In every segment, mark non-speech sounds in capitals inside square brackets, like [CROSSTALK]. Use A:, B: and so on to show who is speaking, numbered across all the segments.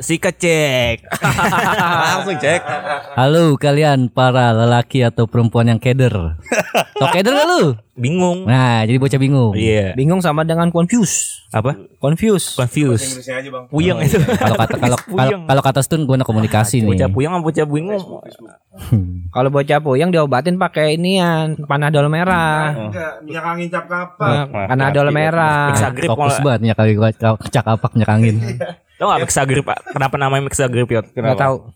A: Sikat cek.
B: [LAUGHS]
C: Langsung cek.
D: Halo kalian para lelaki atau perempuan yang keder. Tau keder gak lu?
A: Bingung.
D: Nah, jadi bocah bingung.
A: Iya.
B: Bingung sama dengan confuse.
A: Apa?
B: Confuse.
A: Confused.
E: Inggrisnya aja bang.
A: Puyeng
B: [LAUGHS]
A: itu.
D: Kalau kata kalau kalau- kalau kata Stun gue nak komunikasi nih.
A: [LAUGHS]
D: [LAUGHS]
A: Bocah puyeng sama bocah bingung.
B: Kalau bocah puyeng diobatin pakai inian panadol merah.
E: Enggak, minyak angin cap kapal.
B: Nah, Panadol
C: iya,
B: merah.
A: Mixagrip
D: Fokus banget minyak kali gua kau kecak apa minyak angin.
A: Tau gak mixagrip? Pak? Kenapa namanya mixagrip Yot?
B: Gak tahu.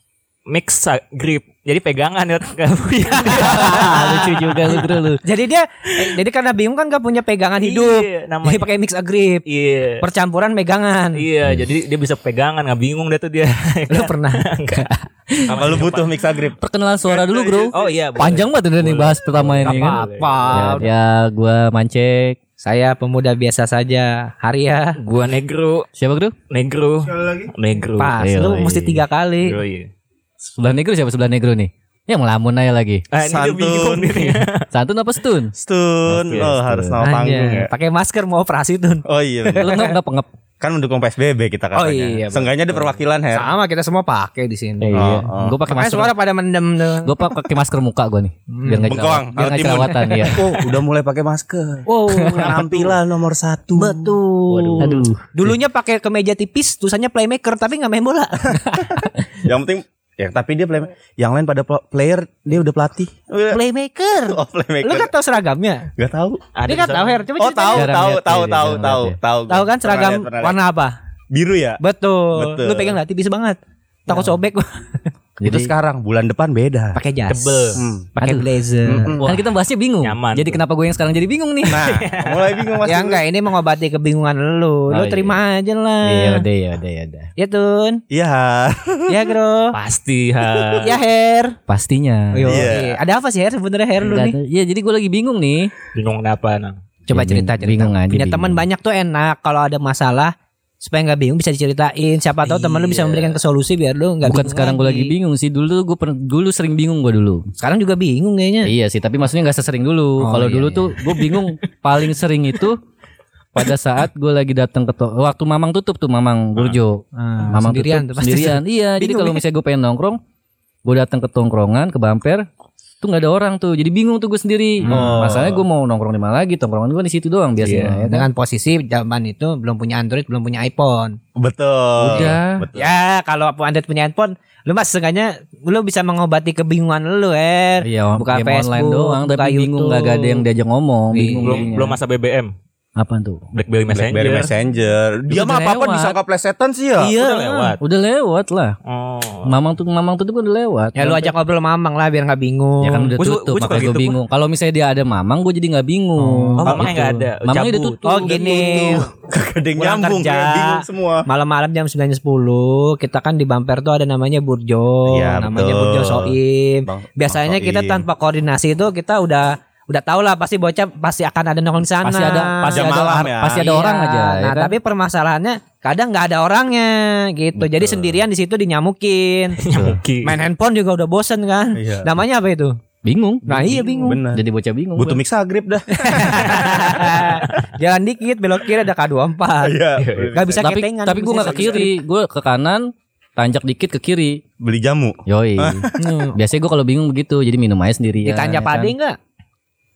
A: Mixagrip. Jadi pegangan Yot.
B: [LAUGHS]
A: Gak puyeng.
D: [LAUGHS] Lucu juga lu bro lu.
B: Jadi dia eh, jadi karena bingung kan gak punya pegangan hidup.
A: Iya,
B: Jadi
A: namanya.
B: pakai mix agrip.
A: Iya.
B: Percampuran pegangan.
A: Iya, jadi dia bisa pegangan, nggak bingung deh tuh dia.
B: [LAUGHS] Lu pernah
A: Enggak.
C: Apa lu butuh mixagrip?
D: Perkenalan suara dulu bro.
A: Oh iya, boleh.
D: Panjang banget udah nih bahas pertama ini kan.
B: apa-apa.
D: Ya, ya gue mancek.
B: Saya pemuda biasa saja. ya. Haria.
A: Gua negro,
D: Siapa bro?
A: negro,
E: Sekali lagi.
A: negro.
B: Pas.
D: Iya,
B: Lu
D: iya.
B: mesti tiga kali.
A: Negro, iya.
D: Sebelah negro siapa sebelah negro nih? Ya ngelamun aja lagi.
A: Ah, ini dia bingung
C: Santun.
B: [LAUGHS]
A: nih.
D: Santun apa Stun?
C: Stun.
A: Pasti ya,
C: Oh,
A: stun.
C: harus nama panggung
B: Anjay.
C: ya.
B: Pakai masker mau operasi tuh.
C: Oh iya.
B: [LAUGHS]
C: bener.
D: Lu ngep ngep ngep.
C: Kan mendukung PSBB kita katanya.
B: Oh, iya, betul.
C: Seenggaknya ada perwakilan
D: Iya.
C: Her.
B: Sama Iya. kita semua pakai di
C: Oh,
B: sini.
C: oh.
D: Gue pakai
B: Makanya
D: masker.
B: suara pada mendem tuh.
D: Gue pakai masker muka gue nih biar nggak
C: Bengkoang,
D: jerawat- biar nggak
C: kalau timun.
D: jerawatan
B: Iya.
D: ya.
C: [LAUGHS] Oh, udah mulai pakai masker.
D: [LAUGHS]
B: Wow.
D: Iya.
C: Penampilan nomor satu.
B: Betul.
D: Aduh.
B: Dulunya pakai kemeja tipis, tulisannya playmaker tapi nggak main
D: [LAUGHS]
B: bola.
C: Yang penting ya tapi dia play, yang lain pada pl- player dia udah pelatih.
B: playmaker.
C: Oh,
B: Lu
C: playmaker.
B: kan tahu seragamnya?
C: Gak tahu.
B: Dia kan tahu Her, coba
C: Oh, tahu,
B: ceritain.
D: Jarang
C: tahu,
D: lihat
C: tahu,
D: dia,
C: tahu,
D: jarang
C: tahu,
D: lihat dia.
C: tahu.
B: Tahu kan
C: Pernah
B: seragam
C: lihat, pernah lihat.
B: warna apa?
C: biru ya?
B: Betul.
C: Betul. Ya.
B: Lu pegang nggak tipis banget. Takut sobek [LAUGHS] gua.
C: Itu sekarang bulan depan
B: [LAUGHS]
C: beda.
B: Pakai jas.
A: Tebel.
C: Hmm.
B: Pakai
D: Aduh.
B: blazer.
D: Kan kita bahasnya bingung.
A: Nyaman
D: Jadi
A: tuh.
D: kenapa gue yang sekarang jadi bingung
B: [LAUGHS]
D: nih?
C: Nah, mulai bingung Mas.
B: Ya enggak, ini mengobati kebingungan lu. Lu
D: Oh, iya.
B: terima aja
D: Iya
B: lah.
D: udah ya udah ya udah.
B: Ya Tun.
C: Iya.
B: Ya Bro.
A: Pasti
D: Iya.
A: ha.
B: [LAUGHS] Ya Her.
D: Pastinya.
B: Yo,
C: Iya.
B: iya. Ada apa sih Her sebenarnya Her lu
D: Nggak
B: nih?
D: tahu. Iya jadi gue lagi bingung nih.
A: Bingung kenapa nang?
B: Coba
D: Ya,
B: cerita
D: bing-
B: cerita.
D: bingung aja,
B: Punya
D: bingung.
B: teman banyak tuh enak kalau ada masalah supaya nggak bingung bisa diceritain. Siapa tahu teman lu bisa memberikan solusi biar lu
D: Iya. Bukan
B: nggak bingung
D: sekarang gue lagi bingung sih. Dulu gue pernah dulu sering bingung gue dulu.
B: Sekarang juga bingung kayaknya.
D: Iya sih tapi maksudnya nggak sesering dulu.
B: Oh,
D: Kalau
B: iya,
D: dulu
B: iya.
D: tuh gue
B: [LAUGHS]
D: bingung paling sering itu pada saat gue lagi datang ke to- waktu mamang tutup tuh mamang burjo
B: Ah,
D: Mamang
B: sendirian
D: tutup
B: tuh pasti.
D: sendirian. [LAUGHS] Iya, jadi
B: Bingung
D: kalau
B: ya.
D: misalnya gue pengen nongkrong, gue datang ke tongkrongan, ke bumper, tuh nggak ada orang tuh. Jadi bingung tuh gue sendiri.
A: Oh.
D: Masalahnya gue mau nongkrong di mana lagi? Tongkrongan gue di situ doang biasanya. ya kan?
B: Dengan posisi zaman itu belum punya Android, belum punya iPhone.
C: Betul.
D: Udah.
C: Betul.
B: Ya, kalau Android punya handphone, lu mas seenggaknya lu bisa mengobati kebingungan lu, Er. Her.
D: Iya,
B: Buka
D: game
B: Facebook,
D: online doang,
B: buka
D: tapi bingung
B: YouTube.
D: nggak ada yang diajak ngomong.
B: Iya.
D: Bingung
A: Belum belum masa BBM,
D: apa tuh?
A: BlackBerry
C: Blackberry
A: Messenger.
C: Messenger. Dia
D: Udah
C: mah apa-apa
D: lewat.
C: disangka plesetan sih ya.
B: Iya.
A: Udah lewat.
D: Udah lewat lah.
A: Oh.
D: Mamang tuh mamang tuh udah lewat.
B: Ya lu ajak ngobrol mamang lah biar nggak bingung.
D: Ya kan udah
A: Gua suka-
D: tutup,
A: gua suka
D: makanya gue
A: gitu, gua.
D: bingung. Kalau misalnya dia ada mamang, gue jadi nggak bingung.
A: Oh, mamangnya nggak ada,
D: Mamangnya udah
A: cabut.
D: tutup.
B: Oh
D: udah
C: [LAUGHS]
B: gini,
D: tutup.
C: Gak ada yang
B: Pulang
C: nyambung,
B: kerja.
C: kayak bingung semua.
B: Malam-malam jam 9.10 kita kan di Bamper tuh ada namanya Burjo,
C: Iya,
B: namanya
C: betul.
B: Burjo Soim.
C: Bang-
B: Biasanya
C: Bang
B: kita
C: Soim.
B: tanpa koordinasi itu kita udah udah tau lah pasti bocah pasti akan ada nongkrong di sana.
D: Pasti ada, pasti
C: Jam
D: ada,
C: malam ya.
D: pasti ada
B: Iya,
D: orang aja. ya
B: Nah,
D: kan?
B: tapi permasalahannya kadang nggak ada orangnya gitu. Jadi sendirian di situ dinyamukin.
A: Mungkin.
B: Main handphone juga udah bosen kan.
C: Iya.
B: Namanya apa itu?
D: bingung.
B: Nah, iya bingung.
C: Benar.
D: Jadi bocah bingung.
C: Butuh
D: gua.
C: mixagrip dah.
B: Jalan dikit belok kiri ada K24.
C: Iya.
B: Gak bisa gitu.
D: tapi
B: ketengan.
D: tapi gue nggak ke kiri, gue ke kanan, tanjak dikit ke kiri.
C: Beli jamu.
D: Yoi. [LAUGHS] Biasanya gue kalau bingung begitu, jadi minum aja ya kan? sendiri.
B: Ditanya Pak Ade nggak?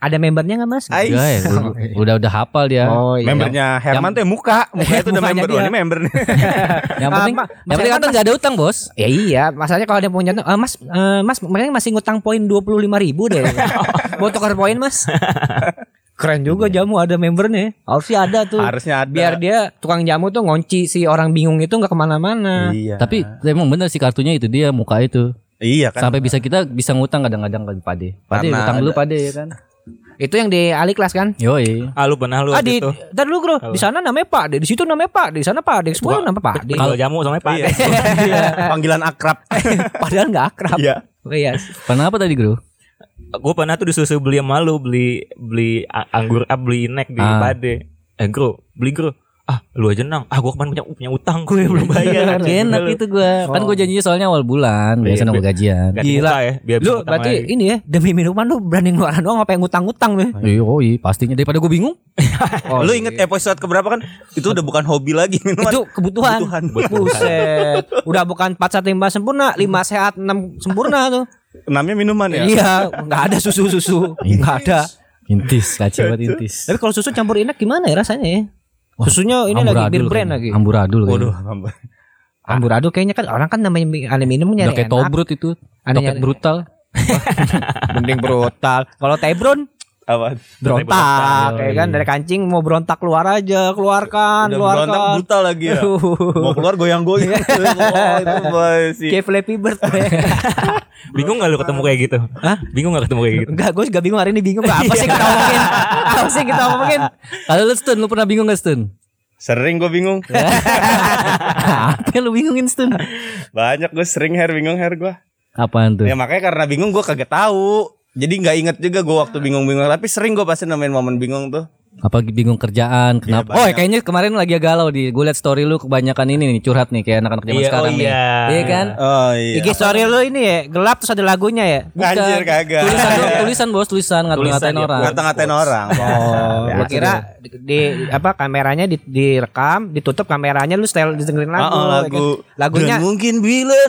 B: Ada membernya nggak mas?
C: Ais.
D: udah udah hafal dia.
B: Oh iya.
C: Membernya Herman tuh yang
B: [LAUGHS]
C: muka. Mukanya tuh udah
B: Mukanya
C: member.
B: dia.
C: Wah, ini member nih.
D: Yang
B: Ah,
D: penting,
B: Pak,
D: yang
B: Mas
D: penting
B: Herman
D: Anton nggak ada utang bos.
B: Ya iya, masalahnya kalau ada yang punya nyantong, "Eh, mas, eh, mas, kemarin masih ngutang poin dua puluh lima ribu deh. Mau tukar poin mas? Keren juga jamu ada membernya. Harusnya ada tuh.
C: Harusnya ada.
B: Biar dia tukang jamu tuh ngonci si orang bingung itu nggak kemana-mana.
C: Iya.
D: Tapi emang bener sih kartunya itu dia muka itu.
C: Iya kan.
D: Sampai bisa kita bisa ngutang kadang-kadang kan Pade. Pade
C: Karena
D: utang dulu Pade ya kan.
B: Itu yang di aliklas kan?
D: Yoi.
A: Ah lu pernah lu
B: Ah,
A: waktu
B: di,
A: itu.
B: ntar dulu bro, di sana namanya Pak Ade, di situ namanya Pak Ade, di sana Pak Ade, semua nama Pak Ade.
A: Kalau jamu sama Pak.
C: Iya.
A: [LAUGHS]
C: [LAUGHS] Panggilan akrab.
B: [LAUGHS] Padahal nggak akrab.
C: Iya.
B: Oh, iya.
D: Pernah apa tadi Gru?
A: Gue pernah tuh disusul beli sama lu beli beli a- anggur ah, beli nek di
D: Ah.
A: Pade. Eh, Gro, beli Gro. ah lu aja nang ah gua kemarin punya punya utang gue belum bayar
D: Gak enak gitu gue Kan gue janjinya soalnya awal bulan
C: Iya,
D: Biasanya nunggu gajian
A: Gak
B: Gila.
A: dibuka ya biar bisa
B: Lu
A: utang
B: berarti [LAUGHS]
A: lagi.
B: ini ya demi minuman lu berani ngeluarin doang apa yang ngutang-ngutang nih?
D: Iya, oh iya, pastinya daripada gue bingung.
C: Lu inget episode keberapa kan? Itu udah bukan hobi lagi [LAUGHS] minuman.
B: Oh, iya. Itu kebutuhan.
C: Kebutuhan.
B: Buset. Udah bukan 4 sehat 5 sempurna, 5 sehat 6 sempurna tuh.
C: Namanya minuman ya.
B: Iya, nggak ada susu-susu, nggak ada.
D: Intis, kacau banget intis.
B: Tapi kalau susu campur enak gimana ya rasanya ya?
D: Wah,
B: Susunya ini lagi
D: Amburadul
B: bir brand
D: kayaknya.
B: lagi.
D: Amburadul
C: Waduh.
D: kayaknya.
B: Amburadul kayaknya kan orang kan namanya mi- aneh minum nyari
D: Udah kayak
B: enak.
D: tobrut itu.
B: Aneh
D: Topet
B: nyari-
D: brutal.
B: [LAUGHS] Mending brutal. Kalau Tebron
C: Apa?
B: berontak, ya kan
D: Iya.
B: dari kancing mau berontak keluar aja, keluarkan,
C: Udah
B: keluarkan.
C: berontak brutal lagi ya. Mau keluar goyang-goyang. oh, itu boy, si.
B: [LAUGHS] Kayak Flappy
D: [LAUGHS]
B: Bird
A: bingung gak lu ketemu kayak gitu
B: Hah?
A: bingung gak ketemu kayak gitu
B: Enggak gue juga bingung hari ini bingung Apa sih
D: [LAUGHS]
B: kita omongin Apa sih kita omongin
D: Kalau lu Stun, lu pernah bingung gak Stun?
C: Sering gue bingung.
D: [LAUGHS] Apa yang lu bingungin Stun?
C: Banyak gue sering hair bingung hair gue.
D: Apaan tuh?
C: Ya makanya karena bingung gue kagak tahu. Jadi nggak inget juga gue waktu bingung-bingung. Tapi sering gue pasti nemuin momen bingung tuh.
D: Apa bingung
C: Iya,
D: kerjaan? Kenapa? oh, kayaknya kemarin lagi galau di. Gue liat story lu kebanyakan ini nih curhat nih kayak anak-anak zaman
A: Iya,
D: sekarang
A: oh
D: nih.
A: iya.
D: Iya kan?
C: Oh iya.
B: IG story lu ini ya Gelap terus ada lagunya ya
D: Bukan.
C: Anjir kagak.
D: Tulisan, doang, tulisan bos, tulisan
A: Tulisan,
D: ngatain-ngatain
A: iya.
D: orang.
C: Ngata-ngatain orang.
B: Oh, gua kira di, di- apa kameranya di, direkam, ditutup kameranya lu setel dengerin
C: Oh,
B: lagu.
C: oh, lagu.
B: ya kan? Lagunya
C: Dan mungkin bila. [LAUGHS]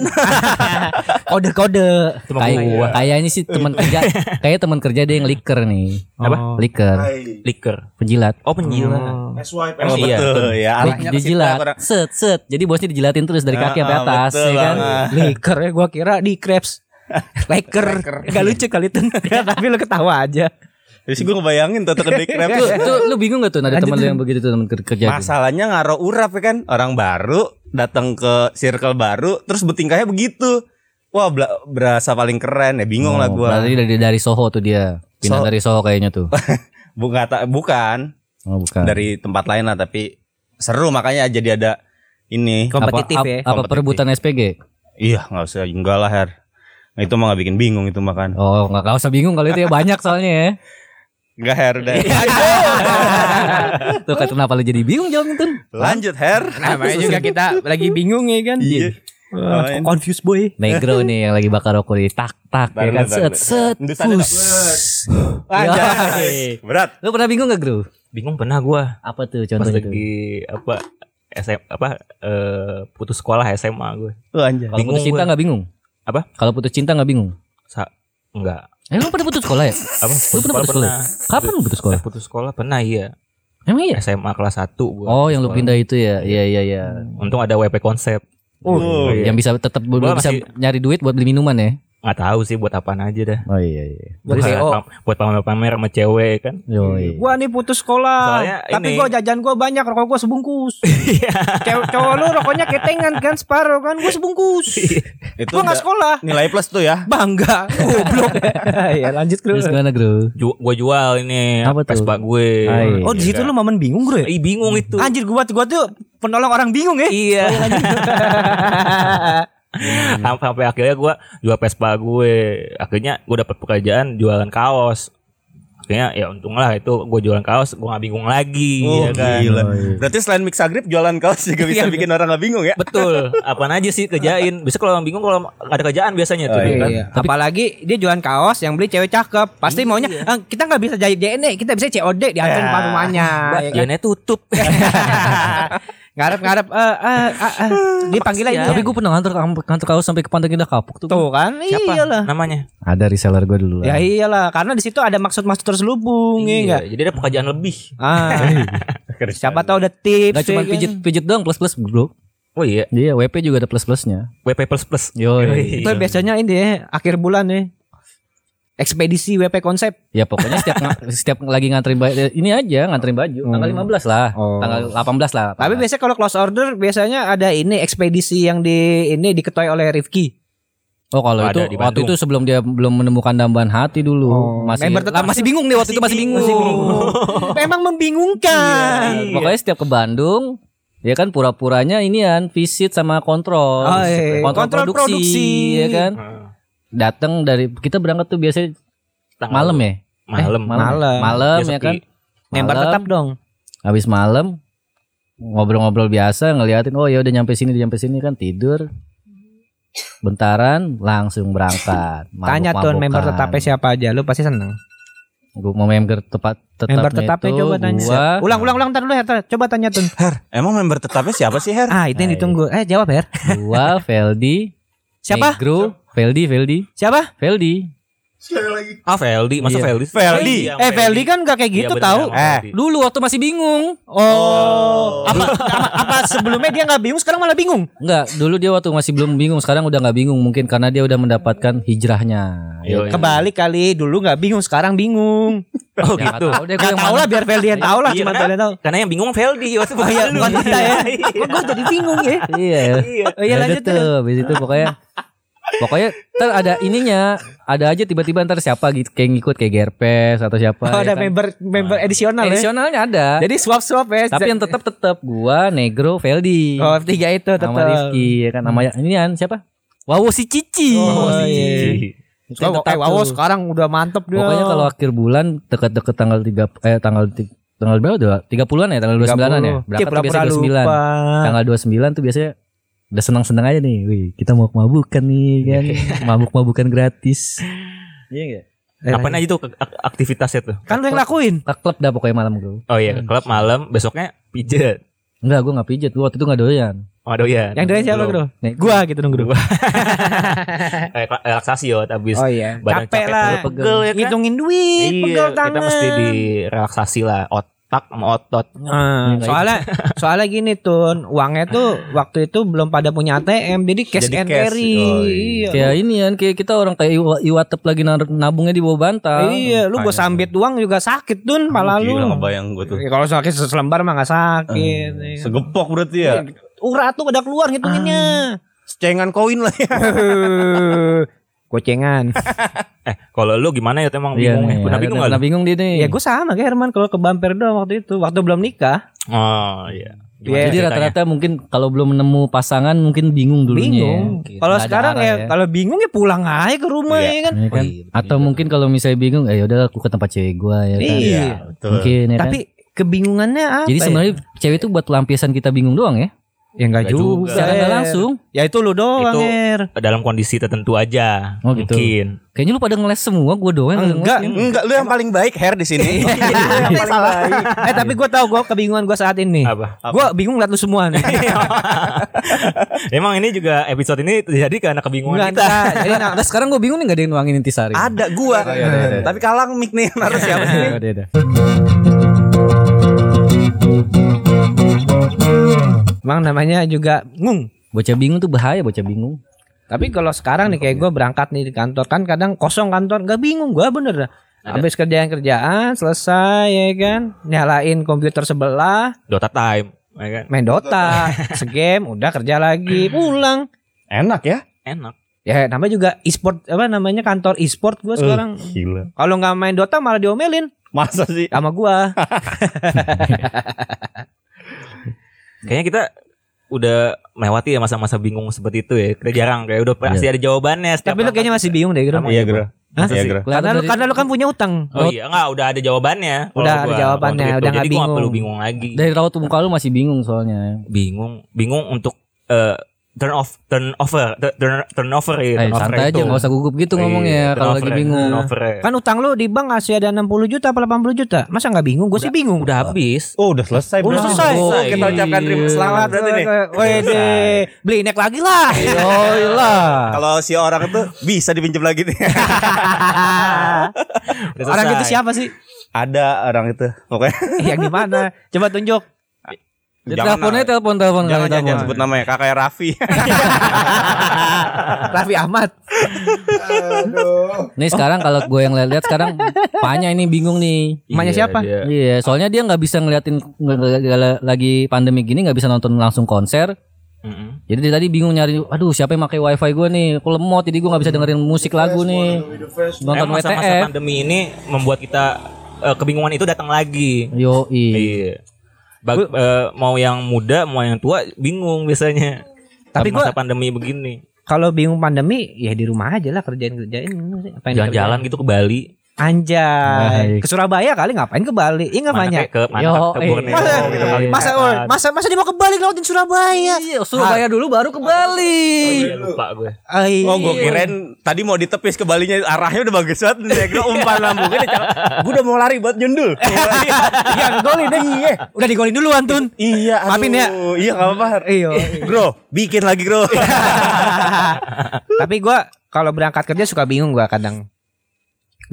B: kode-kode.
A: Cuma
D: Kayak
A: gua
D: kayaknya sih
C: [LAUGHS]
D: teman kerja, kayak teman kerja dia yang liker nih. Oh,
A: Apa?
D: Liker,
E: Hai.
A: liker
D: penjilat.
A: oh penjilat
E: SYP.
C: Emang
A: Iya,
C: betul ya. arahnya ke situ
D: dijilat,
C: orang.
D: set set. Jadi bosnya dijilatin terus dari kaki sampai
C: Ah,
D: atas, ya
C: betul
D: kan?
C: banget.
B: Liker ya gua kira di [LAUGHS] Krebs. Liker. Gak lucu kali [LAUGHS] itu. Tapi lu ketawa aja.
C: Jadi gue ngebayangin tuh ke dekrep
D: Lu,
C: tuh.
D: tuh, lu bingung gak tuh ada teman lu yang begitu tuh teman ker- kerja? gitu. tuh?
C: Masalahnya ngaro urap ya kan Orang baru datang ke circle baru Terus bertingkahnya begitu Wah bela- berasa paling keren ya Bingung lah
D: Oh,
C: gue
D: Berarti dari dari Soho tuh dia. Pindah
C: So-
D: dari Soho kayaknya tuh.
C: Bukan, bukan
D: Oh, bukan.
C: Dari tempat lain lah Tapi seru makanya jadi ada ini
D: Apa-
B: Kompetitif
D: ap-
B: ya.
D: Apa
C: Kompetitif.
D: perebutan SPG?
C: Iya nggak usah Enggak lah Her Itu mah gak bikin bingung itu makan
D: Oh, nggak nggak usah bingung kalau itu ya banyak soalnya
C: [LAUGHS]
D: ya.
C: Enggak Her udah.
D: Tuh kan, kenapa lu jadi bingung jawabnya tuh?
C: [LAUGHS] Lanjut Her
B: Namanya Ah, juga
D: gitu.
B: kita lagi bingung ya kan.
C: Iya Main.
B: Confused boy.
D: Negro nih yang lagi bakar rokok nih tak tak ya kan
C: Bentar, bentar,
D: set set
C: bentar. Ndu sana,
D: fus. Iya.
C: Anjay. Berat
D: Lu pernah bingung gak Gru?
A: bingung pernah gua
D: Apa tuh
A: pas
D: contohnya tuh?
A: lagi apa SM, apa eh, putus sekolah SMA gue
B: Oh,
C: Lu anjay
D: Kalau
A: bingung
D: putus cinta
A: gue.
D: gak bingung?
A: Apa?
D: Kalau putus cinta gak bingung?
A: Sa enggak
D: Eh lu pernah putus sekolah ya?
A: apa
D: Lu pernah putus sekolah? Kapan lu putus sekolah?
A: Eh, putus sekolah pernah iya
D: Emang iya?
A: SMA kelas 1 gua
D: Oh yang lu
A: sekolah.
D: pindah itu ya? Iya iya iya.
A: untung ada WP konsep
C: Oh,
A: iya.
D: Yang bisa tetap
A: Gua
D: bisa
A: masih-
D: nyari duit buat beli minuman ya?
A: nggak tahu sih buat apaan aja dah
D: Oh iya iya.
B: Buat
A: Terus
B: VO.
A: pam- buat pamer-pamer sama cewek kan
D: Yo, iya.
B: Gua nih putus sekolah,
A: Soalnya
B: tapi
A: ini-
B: gua jajan gua banyak, rokok gua sebungkus. [LAUGHS] Cewek cowok lu rokoknya ketengan kan separuh kan, gua [LAUGHS] sebungkus.
C: Itu
B: gua nggak
C: udah
B: sekolah.
C: nilai plus tuh ya
B: Bangga, [LAUGHS] goblok. ya lanjut dulu.
D: Terus gimana Gru?
A: Ju- gua jual ini
D: Apa tuh?
A: Vespa gue
D: Ah, iya.
B: Oh, di situ lu momen bingung, Bro. ya?
A: Ih bingung itu
B: Anjir, gua gua tuh penolong orang bingung ya.
A: Iya.
B: [LAUGHS]
A: Sampai sampai akhirnya gue jual Vespa gue. Akhirnya gue dapat pekerjaan jualan kaos. Akhirnya ya untunglah itu gue jualan kaos, gue gak bingung lagi.
C: Oh
A: ya kan?
C: gila. Berarti selain Mixagrip jualan kaos juga bisa bikin orang nggak bingung ya?
A: Betul. Apaan aja sih kerjain? Bisa kalau orang bingung kalau ada kerjaan biasanya tuh.
C: Oh,
A: ya kan?
B: Iya. Apalagi dia jualan kaos yang beli cewek cakep, pasti maunya "Ah, kita nggak bisa jadi JNE, kita bisa COD diantar
C: Ya.
B: ke rumahnya.
A: Mbak,
B: ya kan? [LAUGHS]
A: Jangannya tutup.
B: ngarep ngarep eh eh eh, [LAUGHS] eh. dipanggil aja.
D: Tapi gue pernah nganter nganter kaos sampai ke Pantai Indah kapuk tuh. iya,
B: tuh kan,
A: Siapa?
B: iyalah.
A: [LAUGHS] Namanya.
D: Ada reseller gue dulu
B: Ya iyalah, karena di situ ada maksud-maksud terselubung, ya enggak?
A: Iya, Jadi ada pekerjaan lebih.
B: Ah, siapa tahu ada tips.
D: Gak
B: ya
D: cuma
B: kan?
D: pijet pijet doang plus plus bro.
A: Oh iya,
D: Iya WP juga ada plus plusnya.
A: WP plus plus.
D: Yoi.
B: Itu
A: Iya.
B: biasanya ini ya, akhir bulan ya. Ekspedisi WP konsep.
D: Ya pokoknya setiap nga- setiap lagi nganterin baju ini aja nganterin baju tanggal 15 lah, tanggal 18 lah.
B: Tapi biasanya kalau close order biasanya ada ini ekspedisi yang di ini diketuai oleh Rifki.
D: oh kalau
A: Ada
D: itu
A: di
D: waktu
A: Bandung.
D: itu sebelum dia belum menemukan dambaan hati dulu. masih
B: member tetap
D: lah, masih bingung nih waktu itu masih bingung. [LAUGHS]
B: Memang membingungkan.
A: Iya.
D: Pokoknya setiap ke Bandung ya kan pura-puranya inian visit sama kontrol,
B: Oh, iya.
D: kontrol,
B: Kontrol
D: produksi,
B: produksi.
D: ya kan.
A: Hmm.
D: Datang dari kita berangkat tuh biasanya
A: Tanggal-
D: malam ya.
A: Malam.
D: malam.
B: Eh, Malam.
D: Malam
A: Dia
D: ya kan.
A: sepi.
B: Member
D: Malam.
B: tetap dong.
D: Habis malam ngobrol-ngobrol biasa ngeliatin oh ya udah nyampe sini udah nyampe sini kan tidur bentaran langsung berangkat
B: [LAUGHS] Tanya tuh member tetapnya siapa aja, lu pasti seneng.
D: gue mau member tepat tetapnya
B: member tetapnya
D: itu
B: coba tanya.
D: gua,
B: Ulang ulang ulang ntar dulu Her, Tar. coba tanya
D: [LAUGHS]
B: tuh.
C: Emang member tetapnya siapa sih Her?
B: Ah, itu
D: Nah,
B: yang ditunggu. Eh, jawab Her.
D: gua Feldi
B: Siapa?
D: Negro Feldi Feldi
B: Siapa?
D: Veldi
E: Sekali lagi.
A: Ah Feldi, masa
D: Iya. Eh.
A: Feldi?
C: Feldi.
A: Iya,
B: Eh, Feldi kan gak kayak
A: Iya,
B: gitu
A: bener,
B: tahu.
A: sama Feldi.
D: dulu waktu masih bingung
B: Oh, apa, apa apa sebelumnya dia nggak bingung, sekarang malah bingung.
A: Oh,
D: Enggak, dulu dia waktu masih belum bingung, sekarang udah nggak bingung mungkin karena dia udah mendapatkan hijrahnya. Ya kan?
A: Yoi.
B: Kebalik kali, dulu nggak bingung, sekarang bingung.
A: Oh
D: Ya, nggak
A: gitu.
D: tahu deh gua
B: Gak
D: yang
B: tau
D: mana.
B: lah, biar Feldi yang tau lah,
A: Iya,
B: cuma
A: karena-
B: Feldi yang tau.
A: Karena yang bingung Feldi, waktu bukan lu.
B: bukan kita ya.
A: Iya.
B: Kok gue jadi bingung ya?
D: Iya.
A: Iya.
B: Oh, [LAUGHS] iya
D: Udah
B: lanjut
D: tuh,
B: tuh.
D: habis itu pokoknya pokoknya ntar ada ininya, ada aja tiba-tiba ntar siapa gitu kayak ngikut kayak Gerpes atau siapa.
B: Oh,
D: ya
B: ada
D: kan.
B: member member edisional ya.
D: Edisionalnya ada.
B: Jadi swap-swap ya.
D: Tapi yang tetap tetap gua Negro Feldi.
B: Oh, tiga itu tetap.
D: Nama Rifki ya kan namanya ini kan siapa? Wawo si Cici.
B: Oh, iya.
D: Itu yang
B: Sekarang,
D: tetap
B: eh, wow,
D: tuh.
B: sekarang udah mantep dia.
D: Pokoknya kalau akhir bulan dekat-dekat tanggal 3 eh tanggal ti- tanggal berapa tuh? 30-an ya, tanggal 29-an ya. Berangkat tuh biasanya
B: 30. Iya,
D: Kan
B: pura-pura
D: 29.
B: lupa. Kan
D: Tanggal 29 tuh biasanya udah senang-senang aja nih. Wih, kita mau mabukan nih kan.
B: [LAUGHS]
D: Mabuk-mabukan gratis. Iya enggak?
B: Eh,
A: Apa aja tuh ke- ak- aktivitasnya tuh?
B: Kan lu yang lakuin.
D: Ke klub dah pokoknya malam gue.
A: Oh iya,
B: Hmm.
A: ke klub malam, besoknya pijet.
D: Enggak, gue gak pijet. Gua waktu itu gak doyan.
A: Waduh ya.
B: Yang dari siapa bro?
D: Nih,
B: Gua gitu dong bro.
A: Eh, relaksasi yot abis
B: iya.
A: badan
B: Capek
A: capek,
B: lah.
A: perut pegel ya kan?
B: Ngitungin duit, pegel
A: Iya,
B: tangan.
A: kita mesti direlaksasi lah otak sama otot.
B: Ah, soalnya soalnya gini tuh uangnya tuh waktu itu belum pada punya ATM jadi cash
C: Jadi
B: and
C: cash,
B: carry.
C: yoi.
B: Iya.
D: Kayak ini kan, kayak kita orang kayak Iwa- Iwatep lagi nar- nabungnya di bawah bantal.
B: Iya, lu gua sambit uang juga sakit tuh pala lu.
C: Gila ngebayang gue tuh.
B: Ya, kalau sakit selembar mah gak sakit. Iya.
C: Segepok berarti ya.
B: Urat tuh udah keluar ngitunginnya.
C: Cengan koin lah ya.
B: [LAUGHS] Gocengan.
A: Eh, kalau lu gimana ya emang
D: Iya,
A: bingung ya?
D: nih,
A: Pernah
D: ada-
A: bingung
D: pernah
A: enggak?
D: bingung dia nih.
B: ya gue sama kayak Herman kalau ke bumper doang waktu itu waktu belum nikah.
A: Oh, iya. Gimana
B: Iya.
D: Jadi
A: ceritanya?
D: rata-rata mungkin kalau belum nemu pasangan mungkin bingung dulunya.
B: Bingung.
D: Gitu,
B: Kalau sekarang ya,
D: kalau
B: kalau bingung ya pulang aja ke rumah ya kan.
D: kan?
F: Oh, iya, betul
D: Atau
F: juga.
D: mungkin kalau misalnya bingung, eh udah aku ke tempat cewek gua ya kan.
B: Iya.
C: Betul.
D: Mungkin ya kan?
B: Tapi kebingungannya apa?
D: Jadi
B: ya?
D: sebenarnya cewek itu buat pelampiasan kita bingung doang ya.
B: ya enggak
A: Nggak juga.
B: juga.
D: Secara nggak
C: Iya.
B: Her.
D: langsung.
B: Ya itu lu doang,
A: Itu-
B: Her.
A: dalam kondisi tertentu aja.
D: Oh, gitu.
A: Mungkin.
D: Kayaknya lu pada ngeles semua, gua doang yang
B: Enggak.
D: ngeles.
C: Enggak, lu yang paling baik Her di sini.
B: Eh, salah. Eh tapi gue tau gue kebingungan gue saat ini.
A: Apa? [LAUGHS]
B: Gue bingung liat lu semua nih.
A: Emang ini juga episode ini terjadi karena kebingungan
B: Enggak,
A: kita.
B: enggak. Jadi nah,
D: Nah, sekarang gua bingung nih gak ada yang nuangin intisari.
C: Ada gua. Tapi kalang mic nih yang harus siapa sih?
D: Nah, ada, ada.
B: emang namanya juga ngung.
D: Bocah bingung tuh bahaya bocah bingung.
B: Tapi kalau sekarang
A: Iya.
B: nih kayak gue berangkat nih di kantor kan kadang kosong kantor gak bingung gue bener dah. Habis kerjaan kerjaan selesai ya kan nyalain komputer sebelah
A: Dota time, ya kan?
B: main Dota, [LAUGHS] segame udah kerja lagi pulang.
C: Enak ya.
A: Enak.
B: Ya namanya juga e-sport apa namanya kantor e-sport
A: Eh.
B: gue sekarang.
C: Gila.
B: Kalau nggak main Dota malah diomelin
C: Masa sih?
B: sama gue.
A: [LAUGHS] Kayaknya kita udah melewati ya masa-masa bingung seperti itu ya. Kita jarang kayak udah
D: Iya.
A: pasti ada jawabannya. Setiap
B: Tapi lu
A: orang-
B: kayaknya masih bingung deh Gro.
A: Sama
C: Iya,
A: gitu.
C: Gro.
A: Masa
C: Iya,
A: sih?
C: Gro.
B: Karena lu,
D: Kelihatan dari-
B: karena lu kan punya utang.
A: Oh iya enggak udah ada jawabannya. kalau
B: Udah ada
A: gua
B: jawabannya,
A: untuk itu.
B: udah nggak
A: Jadi gua nggak perlu
B: bingung.
A: bingung lagi.
D: Dari raut muka lu masih bingung soalnya.
A: Bingung, bingung untuk eh, turn off turn over tu- turn turn over Iya, ya.
C: Iya,
D: Eh, santai aja nggak usah gugup gitu ngomongnya kalau lagi bingung.
A: ya.
B: Kan utang lu di bank masih ada 60 juta apa 80 juta? Masa nggak bingung? Gue sih bingung.
A: udah habis.
C: Oh, udah selesai,
B: Oh,
C: Bro.
B: udah selesai.
C: Oh, kita ucapkan terima
B: Iya.
C: selamat berarti nih.
B: Wede, beli inek lagi lah. Yoilah.
C: Kalau si orang itu bisa dipinjam lagi
A: Udah
C: nih.
B: [LAUGHS]
A: selesai.
D: gitu
B: Orang itu siapa sih? [LAUGHS]
C: Ada orang itu. Pokoknya
B: Yang di mana? Coba tunjuk.
D: Ya,
C: Jangan,
D: teleponnya telepon telepon
C: jangan jangan, jangan sebut namanya kakak Raffi.
B: Raffi Ahmad.
E: Aduh.
D: Nih sekarang kalau gue yang lihat-lihat
C: [LAUGHS]
D: sekarang Panya ini bingung nih.
B: Emaknya
A: Iya,
B: siapa?
A: dia.
D: Iya, soalnya dia nggak bisa ngeliatin nggak- nggak- nggak- lagi pandemi gini nggak bisa nonton langsung konser.
A: Mm-mm.
D: Jadi dia tadi bingung nyari, aduh siapa yang pakai wifi gue nih? Aku lemot, jadi gue nggak bisa dengerin musik lagu nih. Nonton
A: Emang masa-masa
D: WTF.
A: pandemi ini membuat kita eh, kebingungan itu datang lagi.
D: Yo i.
A: Iya. Bag- eh, mau yang muda, mau yang tua bingung biasanya.
B: Tapi
A: Tapi
B: gua-
A: masa pandemi begini,
B: Kalau bingung pandemi, ya di rumah aja lah kerjain kerjain. Apa yang
A: jalan-jalan gitu ke Bali.
B: Anjay.
D: Baik.
B: Ke Surabaya kali ngapain ke Bali? Iya enggak
A: Mana
B: banyak. eh.
A: kayak ke mana
D: Yo,
A: ke Borneo
B: Masa,
A: gitu kali.
B: masa, masa, masa dia mau ke Bali ngelawatin Surabaya? Ah.
D: Iya, Surabaya dulu baru ke Bali.
A: Iya, lupa gue.
B: Ay.
C: Oh gue kirain tadi mau ditepis ke balinya arahnya udah bagus banget Saya kira umpan lambungnya dicakar. Gue udah mau lari buat nyundul
B: Iya, golin deh. Iya. Udah digolin duluan, Tun.
C: [LAUGHS] Iya aduh.
B: Maafin ya.
C: [LAUGHS] Iya gak apa-apa Iya.
B: Iya.
C: Bro bikin lagi bro
B: Tapi gua kalau berangkat kerja suka bingung gua kadang.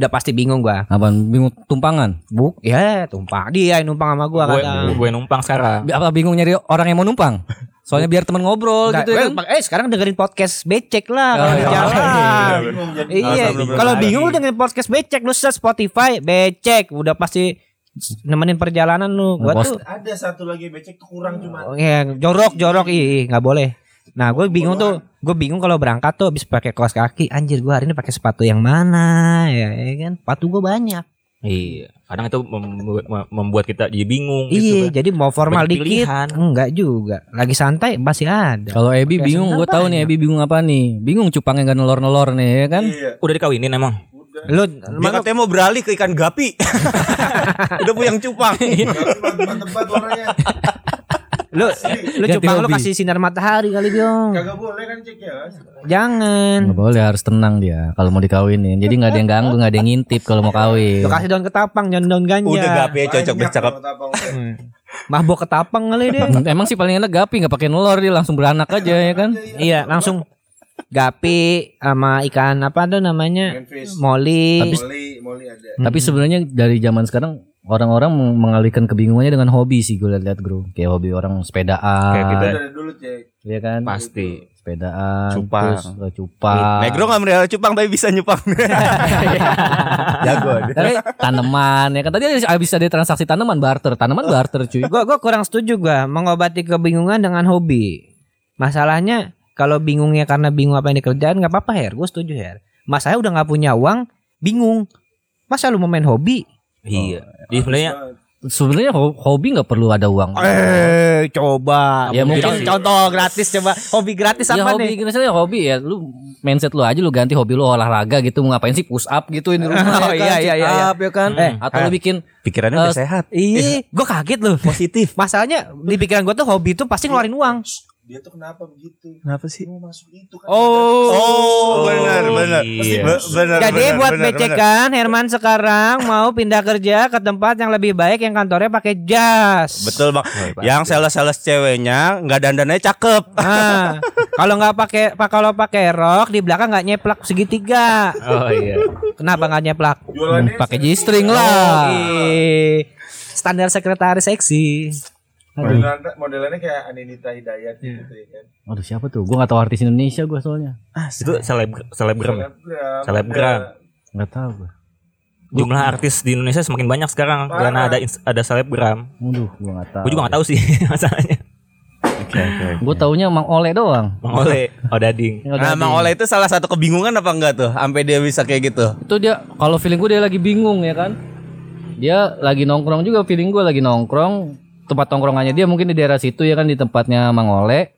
B: Udah pasti bingung gua.
D: Apaan bingung tumpangan?
B: Buk, ya tumpang. Dia yang numpang sama gua
A: Gue
B: kadang.
A: gue numpang sekarang.
D: Bi- Apa bingung nyari orang yang mau numpang? Soalnya biar teman ngobrol
B: Nggak,
D: gitu ya
B: gua
D: kan.
B: numpang. Eh, sekarang dengerin podcast becek lah.
D: Oh,
B: kalau di
D: iya.
B: jalan.
E: Bingung jadi.
B: Iya,
C: Nggak usah
B: kalau
C: belum-belum
B: bingung lu
C: lagi.
B: dengerin podcast becek lu search Spotify becek udah pasti nemenin perjalanan lu. Gua
D: Post-
B: tuh
E: Ada satu lagi becek tuh kurang
C: Hmm.
E: cuma.
B: Ya, jorok jorok ih ih, nggak boleh. Nah, gue bingung tuh, gue bingung kalau berangkat tuh habis pakai kaos kaki, anjir gue hari ini pakai sepatu yang mana, ya, ya kan? Sepatu gue banyak.
A: Iya. Kadang itu membuat, membuat kita jadi bingung
B: iya,
A: gitu kan.
B: jadi mau formal
A: Banyak
B: dikit,
A: pilihan.
B: enggak juga. Lagi santai masih ada.
D: Kalau Ebi
B: Podcast
D: bingung, gue
B: sebentar
D: tahu nih
B: banyak.
D: Ebi bingung apa nih. Bingung cupangnya gak nolor-nolor nih ya kan.
E: Iya.
A: Udah dikawinin emang.
B: Oh.
E: Udah.
B: Lu
C: [LAUGHS] Dia katanya mau beralih ke ikan gapi [LAUGHS] Udah puyang cupang
E: Tapi Mantep-mantep warnanya.
C: [LAUGHS]
B: lu lu
D: Ganti
B: cupang lu
D: hobi.
B: kasih sinar matahari kali, Biong.
E: Kagak boleh kan cek
C: Iya,
E: ya.
B: Jangan.
D: Nggak boleh harus tenang dia kalau mau dikawinin. Jadi nggak ada yang ganggu, nggak ada yang ngintip kalau mau kawin.
B: Lu kasih daun ketapang, jangan daun ganja.
C: Udah gapi ya, cocok
E: Banyak
C: bercakap
E: kalau tapang.
B: Mabok ketapang kali [LAUGHS] deh.
D: Hmm. Emang sih paling enak gapi nggak pakai nolor dia langsung beranak aja ya kan.
B: iya, langsung gapi sama ikan apa tuh namanya?
E: Memphis.
B: Molly. Hmm.
E: Molly, Molly
C: Eh.
E: ada.
D: Tapi sebenarnya dari zaman sekarang orang-orang meng- mengalihkan kebingungannya dengan hobi sih gue lihat-lihat bro. Kayak hobi orang sepedaan,
A: Kayak kita.
E: Itu Dari dulu cek.
D: ya kan?
A: Pasti.
D: Sepedaan,
C: Cupang.
D: terus eh, cupang.
C: Negro gak merela cupang tapi bisa [LAUGHS] nyupang Iya. Jago dia.
D: Tapi Kan tanaman ya kan tadi habis ada transaksi tanaman barter, tanaman barter cuy.
B: Gua gua kurang setuju gua mengobati kebingungan dengan hobi. Masalahnya kalau bingungnya karena bingung apa yang dikerjain nggak apa-apa Her, gue setuju Her. Mas saya udah nggak punya uang, bingung. Masa lu mau main hobi?
A: Iya. Jadi sebenarnya
D: Sebenarnya ho- hobi nggak perlu ada uang.
B: Eh, coba.
D: Ya, mungkin sih.
B: Bikin contoh gratis coba. Hobi gratis
D: ya
B: apa
D: hobi
B: nih?
D: misalnya hobi ya lu mindset lu aja lu ganti hobi lu olahraga gitu mau ngapain sih push up gitu
B: [LAUGHS]
D: di rumah
B: [LAUGHS]
D: ya kan,
B: Oh, iya, iya,
D: sit
B: iya, iya.
D: up, ya kan
B: Eh,
D: atau lu bikin
C: Pikirannya udah sehat
B: Ih, gue kaget loh.
C: Positif
B: Masalahnya di pikiran gue tuh hobi tuh pasti ngeluarin uang.
E: Dia tuh kenapa begitu?
C: Kenapa sih?
E: Mau masuk itu kan.
C: Oh, benar benar.
A: iya.
C: Be- Benar.
B: Jadi
C: benar,
B: buat
C: benar, benar.
B: becekan Herman sekarang mau pindah kerja ke tempat yang lebih baik yang kantornya pakai
C: Oh,
B: jas.
C: iya, Betul, Bang.
A: Pak.
C: Yang sales-sales ceweknya nggak dandannya cakep.
B: Ah, kalau nggak pakai pak kalau pakai rok di belakang nggak nyeplak segitiga.
A: oh iya.
B: Kenapa nggak nyeplak? Hmm,
E: Jualannya
D: pakai g string lah
B: Oke. Standar sekretaris seksi.
E: modelannya, kan, modelannya kayak Aninita Hidayat
C: Iya.
E: gitu ya kan.
D: aduh siapa tuh gua nggak tahu artis Indonesia gua soalnya
A: Itu seleb selebgram.
E: Selebgram.
A: Selebgram.
D: nggak tahu gua
A: Jumlah artis di Indonesia semakin banyak sekarang karena ada ins- ada selebgram.
D: Aduh, gua nggak tahu
A: Gue juga gak tahu sih [LAUGHS] masalahnya.
D: gua taunya Mang Ole doang
A: Bang Ole, Odading.
D: Yang ada
C: Nah,
D: di-
C: Mang Ola itu salah satu kebingungan apa enggak tuh? Sampai dia bisa kayak gitu.
D: itu dia kalau feeling gua dia lagi bingung ya kan dia lagi nongkrong juga feeling gua lagi nongkrong tempat nongkrongannya dia mungkin di daerah situ ya kan di tempatnya Mang Ole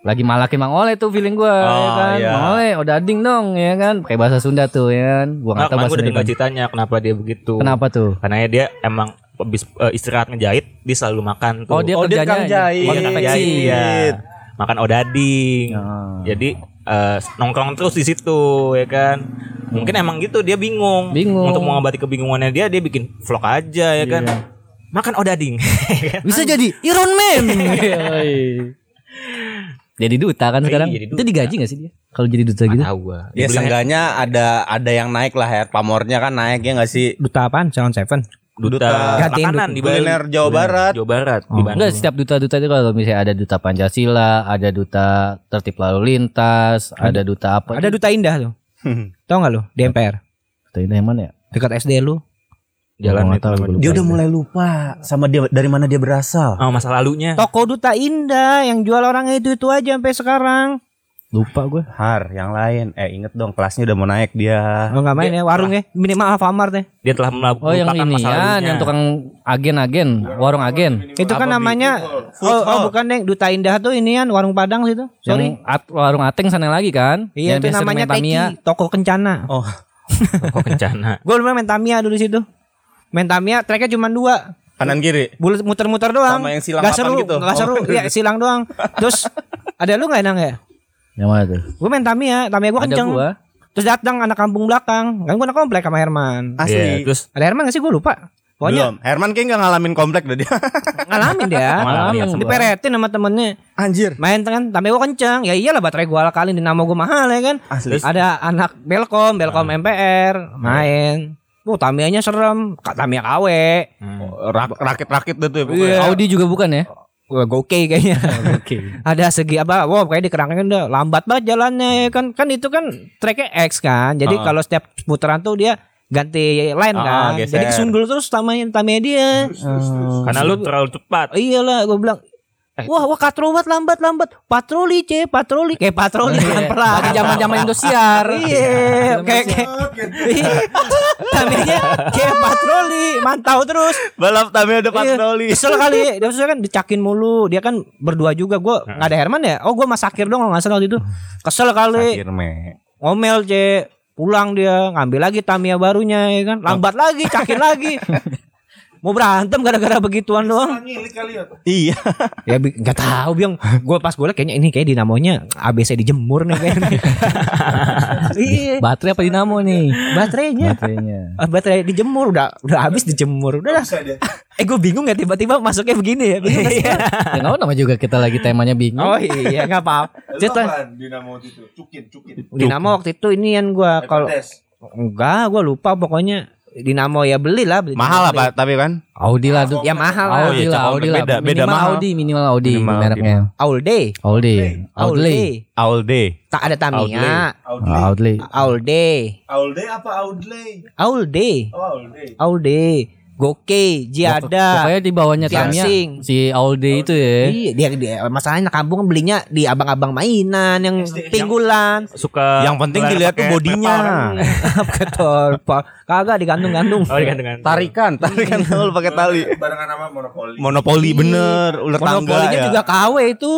D: lagi malakin Mang Ole tuh feeling gua ya
C: Oh,
D: kan
C: iya.
D: Mang Ole udah ding dong ya kan pakai bahasa Sunda tuh ya kan gua
A: Nah, kemarin
D: nggak tahu
A: gue
D: bahasa
A: udah dengar
D: Indonesia
A: ceritanya kenapa dia begitu.
D: kenapa tuh
A: Karena dia emang habis eh, istirahat ngejahit dia selalu makan tuh.
D: Oh, dia-
C: oh, dia
D: kerjanya
C: tukang jahit.
A: Iya, tukang jahit, iya. Makan odading.
D: Ah.
A: Jadi eh, nongkrong terus di situ ya kan. Mungkin emang gitu dia bingung.
D: Bingung. Iya.
A: Untuk mengobati kebingungannya dia dia bikin vlog aja ya kan. Makan odading. [LAUGHS] ya kan?
D: Bisa jadi Iron Man. jadi duta kan sekarang.
A: Iya, jadi duta.
D: Itu digaji gak sih dia? Kalau jadi duta
A: Nggak
D: gitu?
A: Tahu gua. Dia
C: Ya
A: bilangnya
C: seenggaknya ada ada yang naik lah ya. Pamornya kan naik ya nggak sih?
B: Duta apaan? Sound Seven.
A: duta,
C: duta.
B: Gantiin
A: makanan
B: duta.
A: di Bali.
C: Kuliner Jawa Barat.
A: Jawa Barat di Bandung.
D: Oh. Enggak, setiap duta-duta itu kalau misalnya ada duta Pancasila, ada duta tertib lalu lintas, ada, duta apa? gitu.
B: Ada duta indah tuh. Tau nggak lu? Di MPR.
D: duta ini yang mana ya?
B: Dekat SD lu.
A: Jalan
D: Gua nggak
A: itu
D: tahu,
A: sama
D: gua lupa.
C: Dia udah mulai lupa sama dia dari mana dia berasal.
A: Oh, masa lalunya.
B: Toko duta indah yang jual orang itu itu aja sampai sekarang.
D: Lupa gue.
C: Har, yang lain. Eh inget dong kelasnya udah mau naik dia.
B: Oh nggak main ya warung ya. Minimal Alfamart ya.
A: Dia telah melakukan
D: Oh, yang ini ya, yang
A: [LAUGHS]
D: tukang agen-agen, warung agen.
B: Itu kan namanya
C: Food
B: oh, oh,
C: hall.
B: bukan yang Duta Indah tuh inian warung Padang situ. Sorry.
D: Yang at- warung ateng sana lagi kan?
B: Iya
D: Yang
B: itu
D: biasa
B: namanya
D: main Tamiya.
B: Teki, toko kencana.
C: Oh,
A: Kok kencana.
B: Gue lumayan main Tamiya dulu situ. Main Tamiya tracknya cuma dua.
C: Kanan kiri.
B: Bulat muter-muter doang.
C: Sama yang silang
B: Nggak
C: papan
B: seru,
C: gitu.
B: nggak seru.
C: Oh.
B: Iya, silang doang. Terus ada lu nggak enang ya?
D: Yang mana tuh?
B: Gue main Tamiya, Tamiya gue
D: Ada
B: kenceng.
D: gua.
B: Terus datang anak kampung belakang. Kan gue anak komplek sama Herman.
C: Asli.
A: Iya, terus
B: Ada Herman gak sih gue lupa. Pokoknya
C: Belum. Herman kayak nggak ngalamin komplek dah [LAUGHS] dia.
B: ngalamin dia.
A: malah
D: Ngalamin.
A: lihat sebelah.
B: Diperetin sama temennya
C: Anjir.
B: Main kan Tamiya gue kenceng Ya iyalah baterai gue alkalin Dinamo gue mahal ya kan
C: Asli.
B: Ada anak Belkom Belkom
D: Nah.
B: MPR Main Tuh Tamiyanya serem Kak Tamiya KW
A: Hmm.
C: Oh, Rak- Rakit-rakit dah tuh ya pokoknya.
B: Iya.
D: Audi juga bukan ya?
B: Wah, Goke
D: [LAUGHS]
B: kayaknya
D: Oke.
B: ada segi apa wow kayak di kerangkeng udah lambat banget jalannya ya kan kan itu kan tracknya X kan jadi
C: Ah.
B: kalau setiap putaran tuh dia ganti line
C: Ah,
B: kan
C: geser.
B: jadi sundul terus tamanya tamanya dia
C: Oh,
A: Karena lu terlalu cepat.
B: iyalah gue bilang Wah, wah katro banget lambat lambat. Patroli c, patroli kayak patroli pelan pelan.
D: Zaman zaman Indosiar.
B: Iya, kayak kayak. Tamanya kayak patroli, mantau terus.
C: Balap tapi ada
B: Iya,
C: patroli.
B: Kesel kali ya. Dia maksudnya kan dicakin mulu. Dia kan berdua juga. Gue nggak ada Herman ya. Oh gue sama Sakir dong nggak salah waktu itu. Kesel kali.
C: me.
B: Ngomel c. Pulang dia ngambil lagi Tamiya barunya ya kan. Lambat lagi, cakin lagi. Mau berantem gara-gara begituan doang.
E: Ngilik kali ya.
C: Iya.
B: Ya bi- nggak tahu biang. Gue pas gue liat kayaknya ini kayak dinamonya ABC dijemur nih [LAUGHS] kayaknya. Iya.
D: Baterai apa dinamo nih?
B: Baterainya.
D: Baterainya.
B: Ah, Baterai dijemur udah udah habis dijemur udah lah.
E: Bisa dia.
B: Eh gue bingung ya tiba-tiba masuknya begini ya. Bingung nggak sih?
D: Ya nggak apa nama juga kita lagi temanya bingung.
B: Oh iya nggak apa-apa.
E: Lu
B: Cerita
E: apaan Dinamo waktu itu? Cukin, cukin.
B: Dinamo waktu itu ini yang gua kalau
E: Pedes.
B: enggak gua lupa pokoknya Dinamo ya belilah beli
C: Mahal lah
B: Beli.
C: Pak, tapi kan.
D: Audi lah, Du.
B: Ya mahal lah.
C: Oh,
D: Audi
C: iya,
D: lah,
C: cakep.
D: Audi lah.
C: Beda- beda
D: minimal
C: mahal.
D: Audi, minimal Audi
C: Minimal Audi.
D: mereknya.
B: All day.
D: Audi,
B: All
D: Audley,
B: day.
C: All day.
B: Tak ada Tamiya.
E: Outlay.
C: Ah.
D: Audley.
B: All day.
E: Outlay apa outlay?
B: All day.
E: Oh, outlay.
B: All day. Goke, Jiada.
D: Pokoknya di bawahnya Tamiya
B: Tiansing.
D: si
C: Oh,
D: Audi itu ya.
B: Iya, dia, dia masalahnya anak kampung belinya di abang-abang mainan yang
E: SD.
B: pinggulan,
A: Suka
C: Yang penting
A: ngelar
C: dilihat tuh
A: pakai
C: bodinya.
A: pepal kan.
B: ketor, kagak digantung-gantung.
A: Oh, dengan
C: Tarikan, tarikan tol pakai tali.
E: Barengan sama monopoli.
C: Monopoli bener, ular tangga
B: Iya. Monopolinya
C: ya.
B: juga KW itu.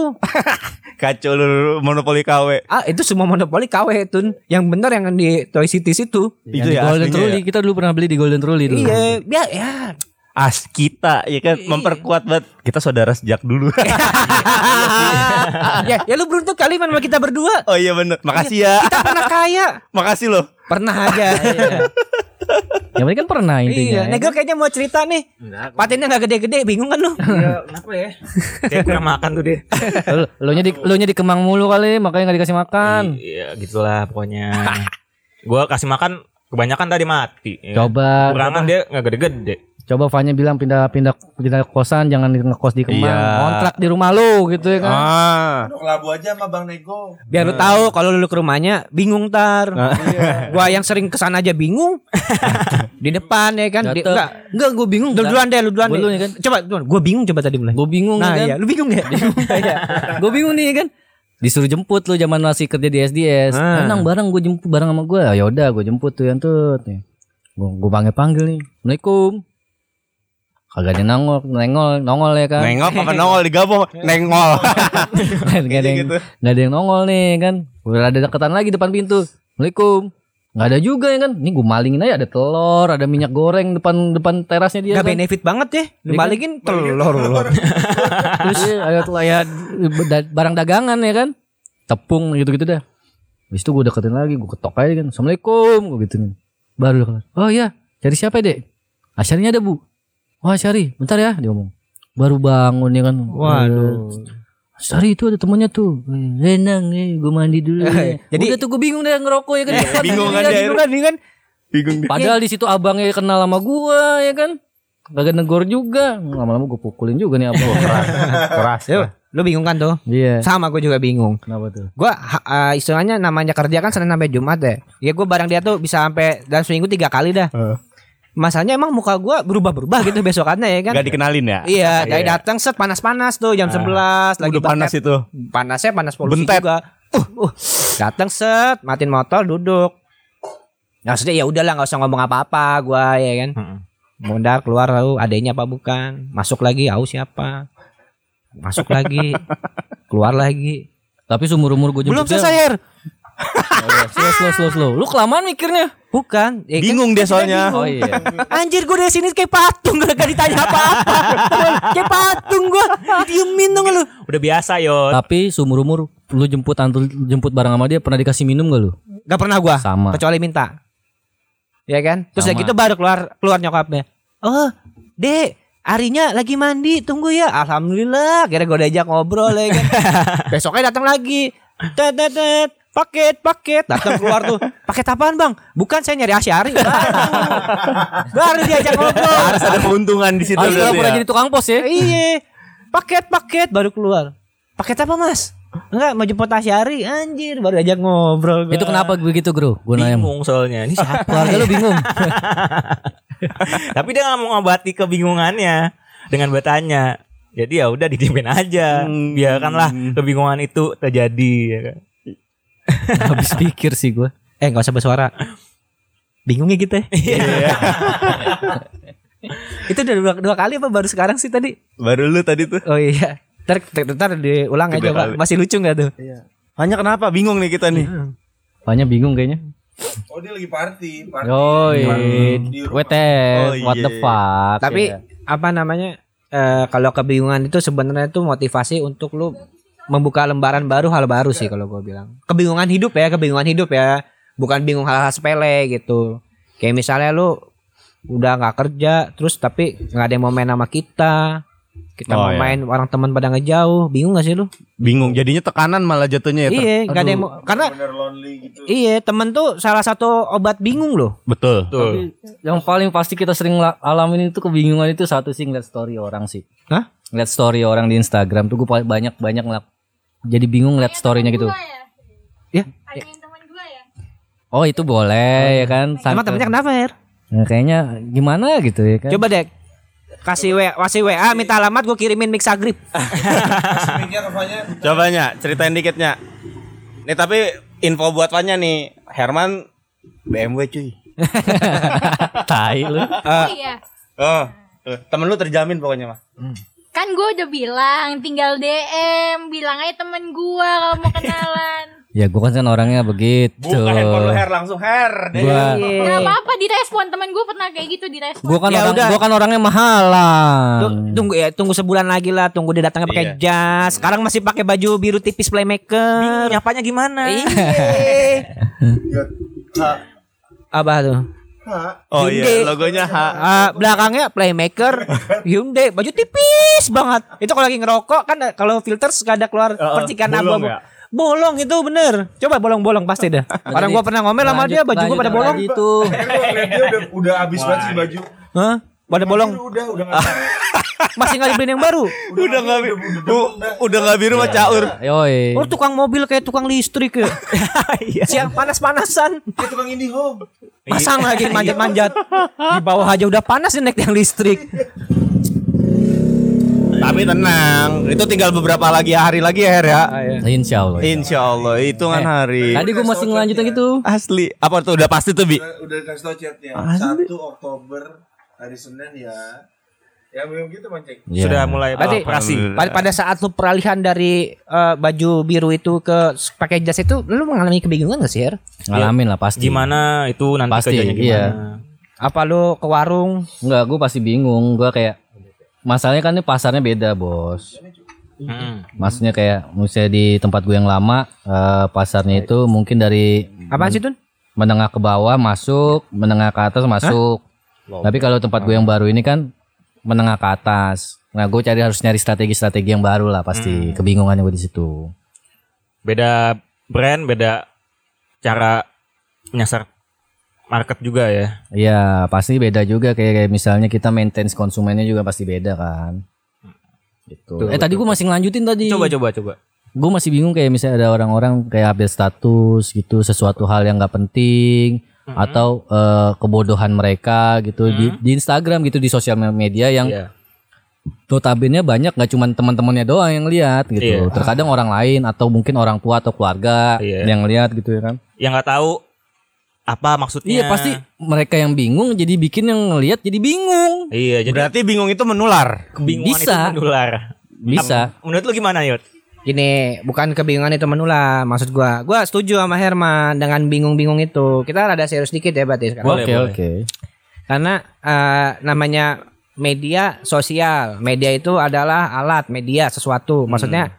C: Kacau lu monopoli KW.
B: Ah, itu semua monopoli KW itu. Yang bener yang di Toy City situ.
D: Yang di
C: Itu ya
D: Golden
C: aslinya
D: Trolley
C: ya.
D: kita dulu pernah beli di Golden Trolley dulu.
B: Iya, ya, ya
C: As kita ya
B: Iya.
C: kan memperkuat banget. Kita saudara sejak dulu. [LAUGHS]
B: ya, ya lu beruntung kali man sama kita berdua.
C: oh iya bener. Makasih ya.
B: Kita pernah kaya.
C: Makasih loh.
B: Pernah aja. ya.
D: Yang penting kan pernah intinya.
B: iya. Nah, gue kayaknya mau cerita nih. Patennya nggak gede-gede, bingung kan lu?
A: Kayak kurang makan tuh dia.
D: Lo nya di lo nya dikemang mulu kali makanya nggak dikasih makan.
A: Iya, gitulah
C: [LAUGHS]
A: pokoknya. gua kasih makan kebanyakan tadi mati. ya.
C: Iya.
D: Coba
A: Kurangan dia nggak gede-gede.
D: coba Fanya bilang pindah-pindah pindah kosan jangan di- ngekos di Kemang.
C: Iya.
D: Kontrak di rumah lu gitu ya kan.
C: Ah.
E: Pondok labu aja sama Bang Nego.
B: Biar lu tahu kalau lu ke rumahnya bingung tar. [LAUGHS] gua yang sering kesana aja bingung. [LAUGHS] di depan ya kan. Di,
D: Jatuh.
B: enggak, enggak gua bingung. Lu duluan deh, lu duluan
D: Gua
B: deh.
D: duluan ya kan?
B: Coba, duluan. gua bingung coba tadi mulai.
D: Gue bingung
B: Nah,
D: ya
B: ya,
D: kan.
B: lu bingung Iya, ya? [LAUGHS]
D: gue bingung nih ya kan. Disuruh jemput lu zaman masih kerja di SDS.
B: Ah.
D: Tenang bareng gue jemput bareng sama gue. Ya udah gue jemput tuh yang tuh. Gue gue panggil panggil nih. Assalamualaikum. Kagak ada nongol, nengol, nongol ya kan.
C: Nengok apa nongol digabung?
B: [LAUGHS]
C: Nengol.
D: gak ada yang nggak ada yang nongol nih kan udah ada deketan lagi depan pintu assalamualaikum nggak ada juga ya kan ini gue malingin aja ada telur ada minyak goreng depan depan terasnya dia
B: Enggak
D: kan
B: benefit banget ya.
D: Iya
B: Lu
D: kan?
B: balikin telur [LAUGHS] lu.
D: terus iya, ada telur ya da- barang dagangan ya kan tepung gitu gitu dah Habis itu gue deketin lagi gue ketok aja kan assalamualaikum gue gituin baru dia kelar oh iya cari siapa ya, dek asyarinya ada bu wah asyari bentar ya dia ngomong baru bangun ya kan
B: Waduh.
D: Sari itu ada temennya tuh Renang eh, gue mandi dulu ya.
B: Jadi- Eh.
D: Udah tuh gue bingung deh ngerokok ya kan
C: bingung kan dia.
B: Bingung kan, bingung kan?
C: Bingung dia.
D: Padahal di situ abangnya kenal sama gue ya kan Gak negor juga Lama-lama gue pukulin juga nih abang
C: Keras.
B: Yo, lu bingung kan tuh?
D: Iya
B: Sama gue juga bingung.
D: Kenapa tuh
B: Gue istilahnya namanya kerja kan Senin sampai Jumat ya. Ya gue bareng dia tuh bisa sampai dalam seminggu tiga kali dah. Masalahnya emang muka gue berubah-berubah gitu besokannya ya kan.
C: Gak dikenalin ya?
B: Iya, dari datang set panas-panas tuh jam 11 lagi
C: Udah panas
B: bantet.
C: itu.
B: Panasnya panas polusi
C: Bentet.
B: juga. Uh, uh. Datang set, matiin motor, duduk. Nah, maksudnya ya udahlah nggak usah ngomong apa-apa gue ya kan.
A: Heeh.
B: Mondar keluar tahu adanya apa bukan. Masuk lagi, au siapa. Masuk lagi, keluar lagi.
D: Tapi seumur umur gue jemput
B: Belum
D: dia, oh iya,
B: selesai Her
D: slow, slow, slow, slow. Lu kelamaan mikirnya.
B: Bukan. eh, kan
C: Bingung dia
B: kita
C: soalnya.
B: bingung.
D: Oh iya.
B: [LAUGHS] Anjir gue dari sini kayak patung gak, gak ditanya [LAUGHS] apa-apa. kayak patung gue. Diemin dong lu.
A: Udah biasa yo.
D: Tapi seumur umur lu jemput antul jemput bareng sama dia pernah dikasih minum gak lu?
B: Gak pernah gua
D: Sama.
B: kecuali minta. Ya kan? Terus udah
D: Sama.
B: gitu baru keluar keluar nyokapnya. Oh, Dek, Arinya lagi mandi, tunggu ya. Alhamdulillah, kira gue diajak ngobrol ya
C: [LAUGHS]
B: kan. Besoknya datang lagi. Tet tet tet. Paket, paket. Datang keluar tuh. Paket apaan, Bang? Bukan saya
C: [LAUGHS]
B: nyari Asyari. Baru- Baru diajak ngobrol.
C: Harus
B: [LAUGHS]
C: ada keuntungan di situ
D: Harus
C: berarti
D: pernah
C: ya.
D: jadi tukang pos ya.
B: Iya. Paket, paket baru keluar. Paket apa, Mas? Enggak, mau jemput Asyari. Anjir, baru diajak ngobrol. gua.
D: Itu
B: [LAUGHS]
D: kenapa begitu, Bro? Gua nanya.
A: Bingung soalnya. Ini siapa?
C: [LAUGHS]
D: Keluarga lu bingung.
A: Tapi dia nggak mau ngobati kebingungannya dengan bertanya. Jadi ya udah didiemin aja.
C: Hmm.
A: Biarkanlah kebingungan itu terjadi ya kan.
D: Habis pikir sih gua.
B: Eh nggak usah bersuara. Bingungnya gitu ya.
D: Iya.
B: [LAUGHS] itu udah dua, dua kali apa baru sekarang sih tadi?
C: Baru lu tadi tuh.
B: Oh iya. Ntar, ntar, ntar diulang
C: Tiga
B: aja Pak.
C: kali.
B: Masih lucu nggak tuh?
C: Hanya kenapa bingung nih kita nih.
B: Iya.
D: Banyak bingung kayaknya.
E: Oh dia lagi party, party.
D: Oh,
E: Party di rumah.
D: WT,
C: Oh,
D: what the
C: iya.
D: fuck.
B: Tapi
D: ya.
B: apa namanya? eh, kalau kebingungan itu sebenarnya itu motivasi untuk lu membuka lembaran baru hal baru sih kalau gue bilang. Kebingungan hidup ya, kebingungan hidup ya. Bukan bingung hal-hal sepele gitu. Kayak misalnya lu udah nggak kerja terus tapi nggak ada yang mau main sama kita. Kita
C: Oh,
B: mau
C: iya.
B: main orang teman pada ngejauh, bingung gak sih lu?
C: Bingung jadinya tekanan malah jatuhnya ya. Ter-
B: Iya, nggak ada yang mau karena
E: Bener lonely gitu.
B: iya temen tuh salah satu obat bingung loh.
C: Betul.
A: Betul.
D: yang paling pasti kita sering la- alamin itu kebingungan itu satu sih ngeliat story orang sih.
B: Hah?
D: Ngeliat story orang di Instagram tuh gue banyak banyak ngelak. Jadi bingung ngeliat storynya gitu. Iya.
F: Gua ya?
B: Ya.
F: Tanyain teman gua ya.
D: Oh itu boleh ya kan?
B: Emang
D: Sampai-
B: temennya kenapa Her?
D: Nah, kayaknya gimana gitu ya kan?
B: Coba deh kasih W, kasih WA minta alamat gue kirimin mix agrip.
E: Sebenarnya kafanya
C: Cobanya ceritain dikitnya. Nih tapi info buat Fanya nih. Herman BMW cuy.
D: [LAUGHS] Tai lu.
F: Oh iya.
C: Oh, tuh, temen lu terjamin pokoknya mah.
F: Kan gua udah bilang tinggal DM, bilang aja temen gua kalau mau
D: [LAUGHS]
F: kenalan.
D: Ya gue kan orangnya begitu.
C: Buka handphone lu Iya. her langsung her. Deh.
D: Gua
B: Iya.
F: Gak apa-apa direspon temen gua pernah kayak gitu direspon.
D: gua kan
B: Ya
D: orang
B: udah.
D: gua kan orangnya mahalan.
B: Tuh, Tunggu ya, tunggu sebulan lagi lah, tunggu dia datangnya pakai
C: Iya.
B: jas. Sekarang masih pakai baju biru tipis playmaker.
A: Nyapanya gimana?
B: Iya.
E: ya, ha,
B: Apa tuh?
E: ha.
C: Oh iya,
B: Hyundai.
C: logonya H.
B: Ah, belakangnya playmaker Hyundai baju tipis banget itu kalau lagi ngerokok kan kalau filter suka ada keluar
C: Heeh,
B: percikan
C: bolong
B: abu-abu
C: ya?
B: bolong itu bener coba bolong-bolong pasti dah orang gua pernah ngomel sama dia baju gua pada bolong
D: Itu.
E: Tapi gua ngeliat dia udah udah habis banget sih baju.
B: Hah? pada bolong
E: Biru Udah, udah nggak tahu.
B: masih nggak dibeliin yang baru
C: Udah nggak biru, udah nggak biru mah caur.
D: Yoi.
B: Oh tukang mobil kayak tukang listrik [LAUGHS] ya Siang panas-panasan
E: Dia tukang ini home.
B: Pasang lagi manjat-manjat Di bawah aja udah panas nih naik yang listrik
C: Tapi tenang, itu tinggal beberapa lagi hari lagi ya her
B: Ah,
C: ya.
B: iya.
D: Insya Allah.
C: Insya Allah
B: Eh,
C: hitungan hari.
D: Tadi gue masih ngelanjutin gitu.
C: Asli, apa tuh udah pasti tuh bi?
E: Udah, udah kasih tau chatnya.
C: Asli.
E: 1 Oktober hari Senin ya. Ya belum gitu mancing.
C: Iya.
A: Sudah mulai
B: Berarti-
A: operasi.
B: Pada, pada saat lu peralihan dari eh, baju biru itu ke s- pakai jas itu, lu mengalami kebingungan gak sih, Her?
D: Ngalamin lah pasti.
A: Gimana itu nanti
D: Pasti,
A: kerjanya gimana?
D: iya.
B: Apa lu ke warung?
D: Enggak, gue pasti bingung. Gue kayak masalahnya kan ini pasarnya beda, bos.
A: Mm.
D: Maksudnya kayak misalnya di tempat gue yang lama eh, pasarnya itu mungkin dari
B: Apaan sih, Tun?
D: menengah ke bawah masuk, menengah ke atas masuk. Tapi kalau tempat gue yang baru ini kan menengah ke atas. Nah, gue cari harus nyari strategi-strategi yang baru lah pasti. Kebingungan gue di situ.
A: Beda brand, beda cara nyasar market juga ya.
D: Iya, pasti beda juga kayak, kayak misalnya kita maintenance konsumennya juga pasti beda kan. Gitu. eh tadi gue masih ngelanjutin tadi.
A: Coba coba coba.
D: gue masih bingung kayak misalnya ada orang-orang kayak update status gitu sesuatu hal yang nggak penting atau eh, kebodohan mereka gitu di, di Instagram gitu di sosial media yang
A: Iya.
D: notabene banyak nggak cuman teman-temannya doang yang lihat
A: Iya.
D: gitu terkadang orang lain atau mungkin orang tua atau keluarga
A: Iya.
D: yang lihat gitu ya kan
A: Yang nggak tahu apa maksudnya.
D: iya pasti mereka yang bingung jadi bikin yang ngelihat jadi bingung
A: Iya, jadi
C: Berarti bingung itu menular.
A: kebingungan
D: Bisa.
A: itu menular.
D: bisa
A: Menurut lu gimana, Yot?
B: Gini, bukan kebingungan itu menular. Maksud gua, gua setuju sama Herman dengan bingung-bingung itu. Kita rada serius dikit ya berarti sekarang.
A: Boleh,
D: Oke
A: boleh.
D: oke.
B: Karena eh, namanya media sosial, media itu adalah alat media sesuatu. Maksudnya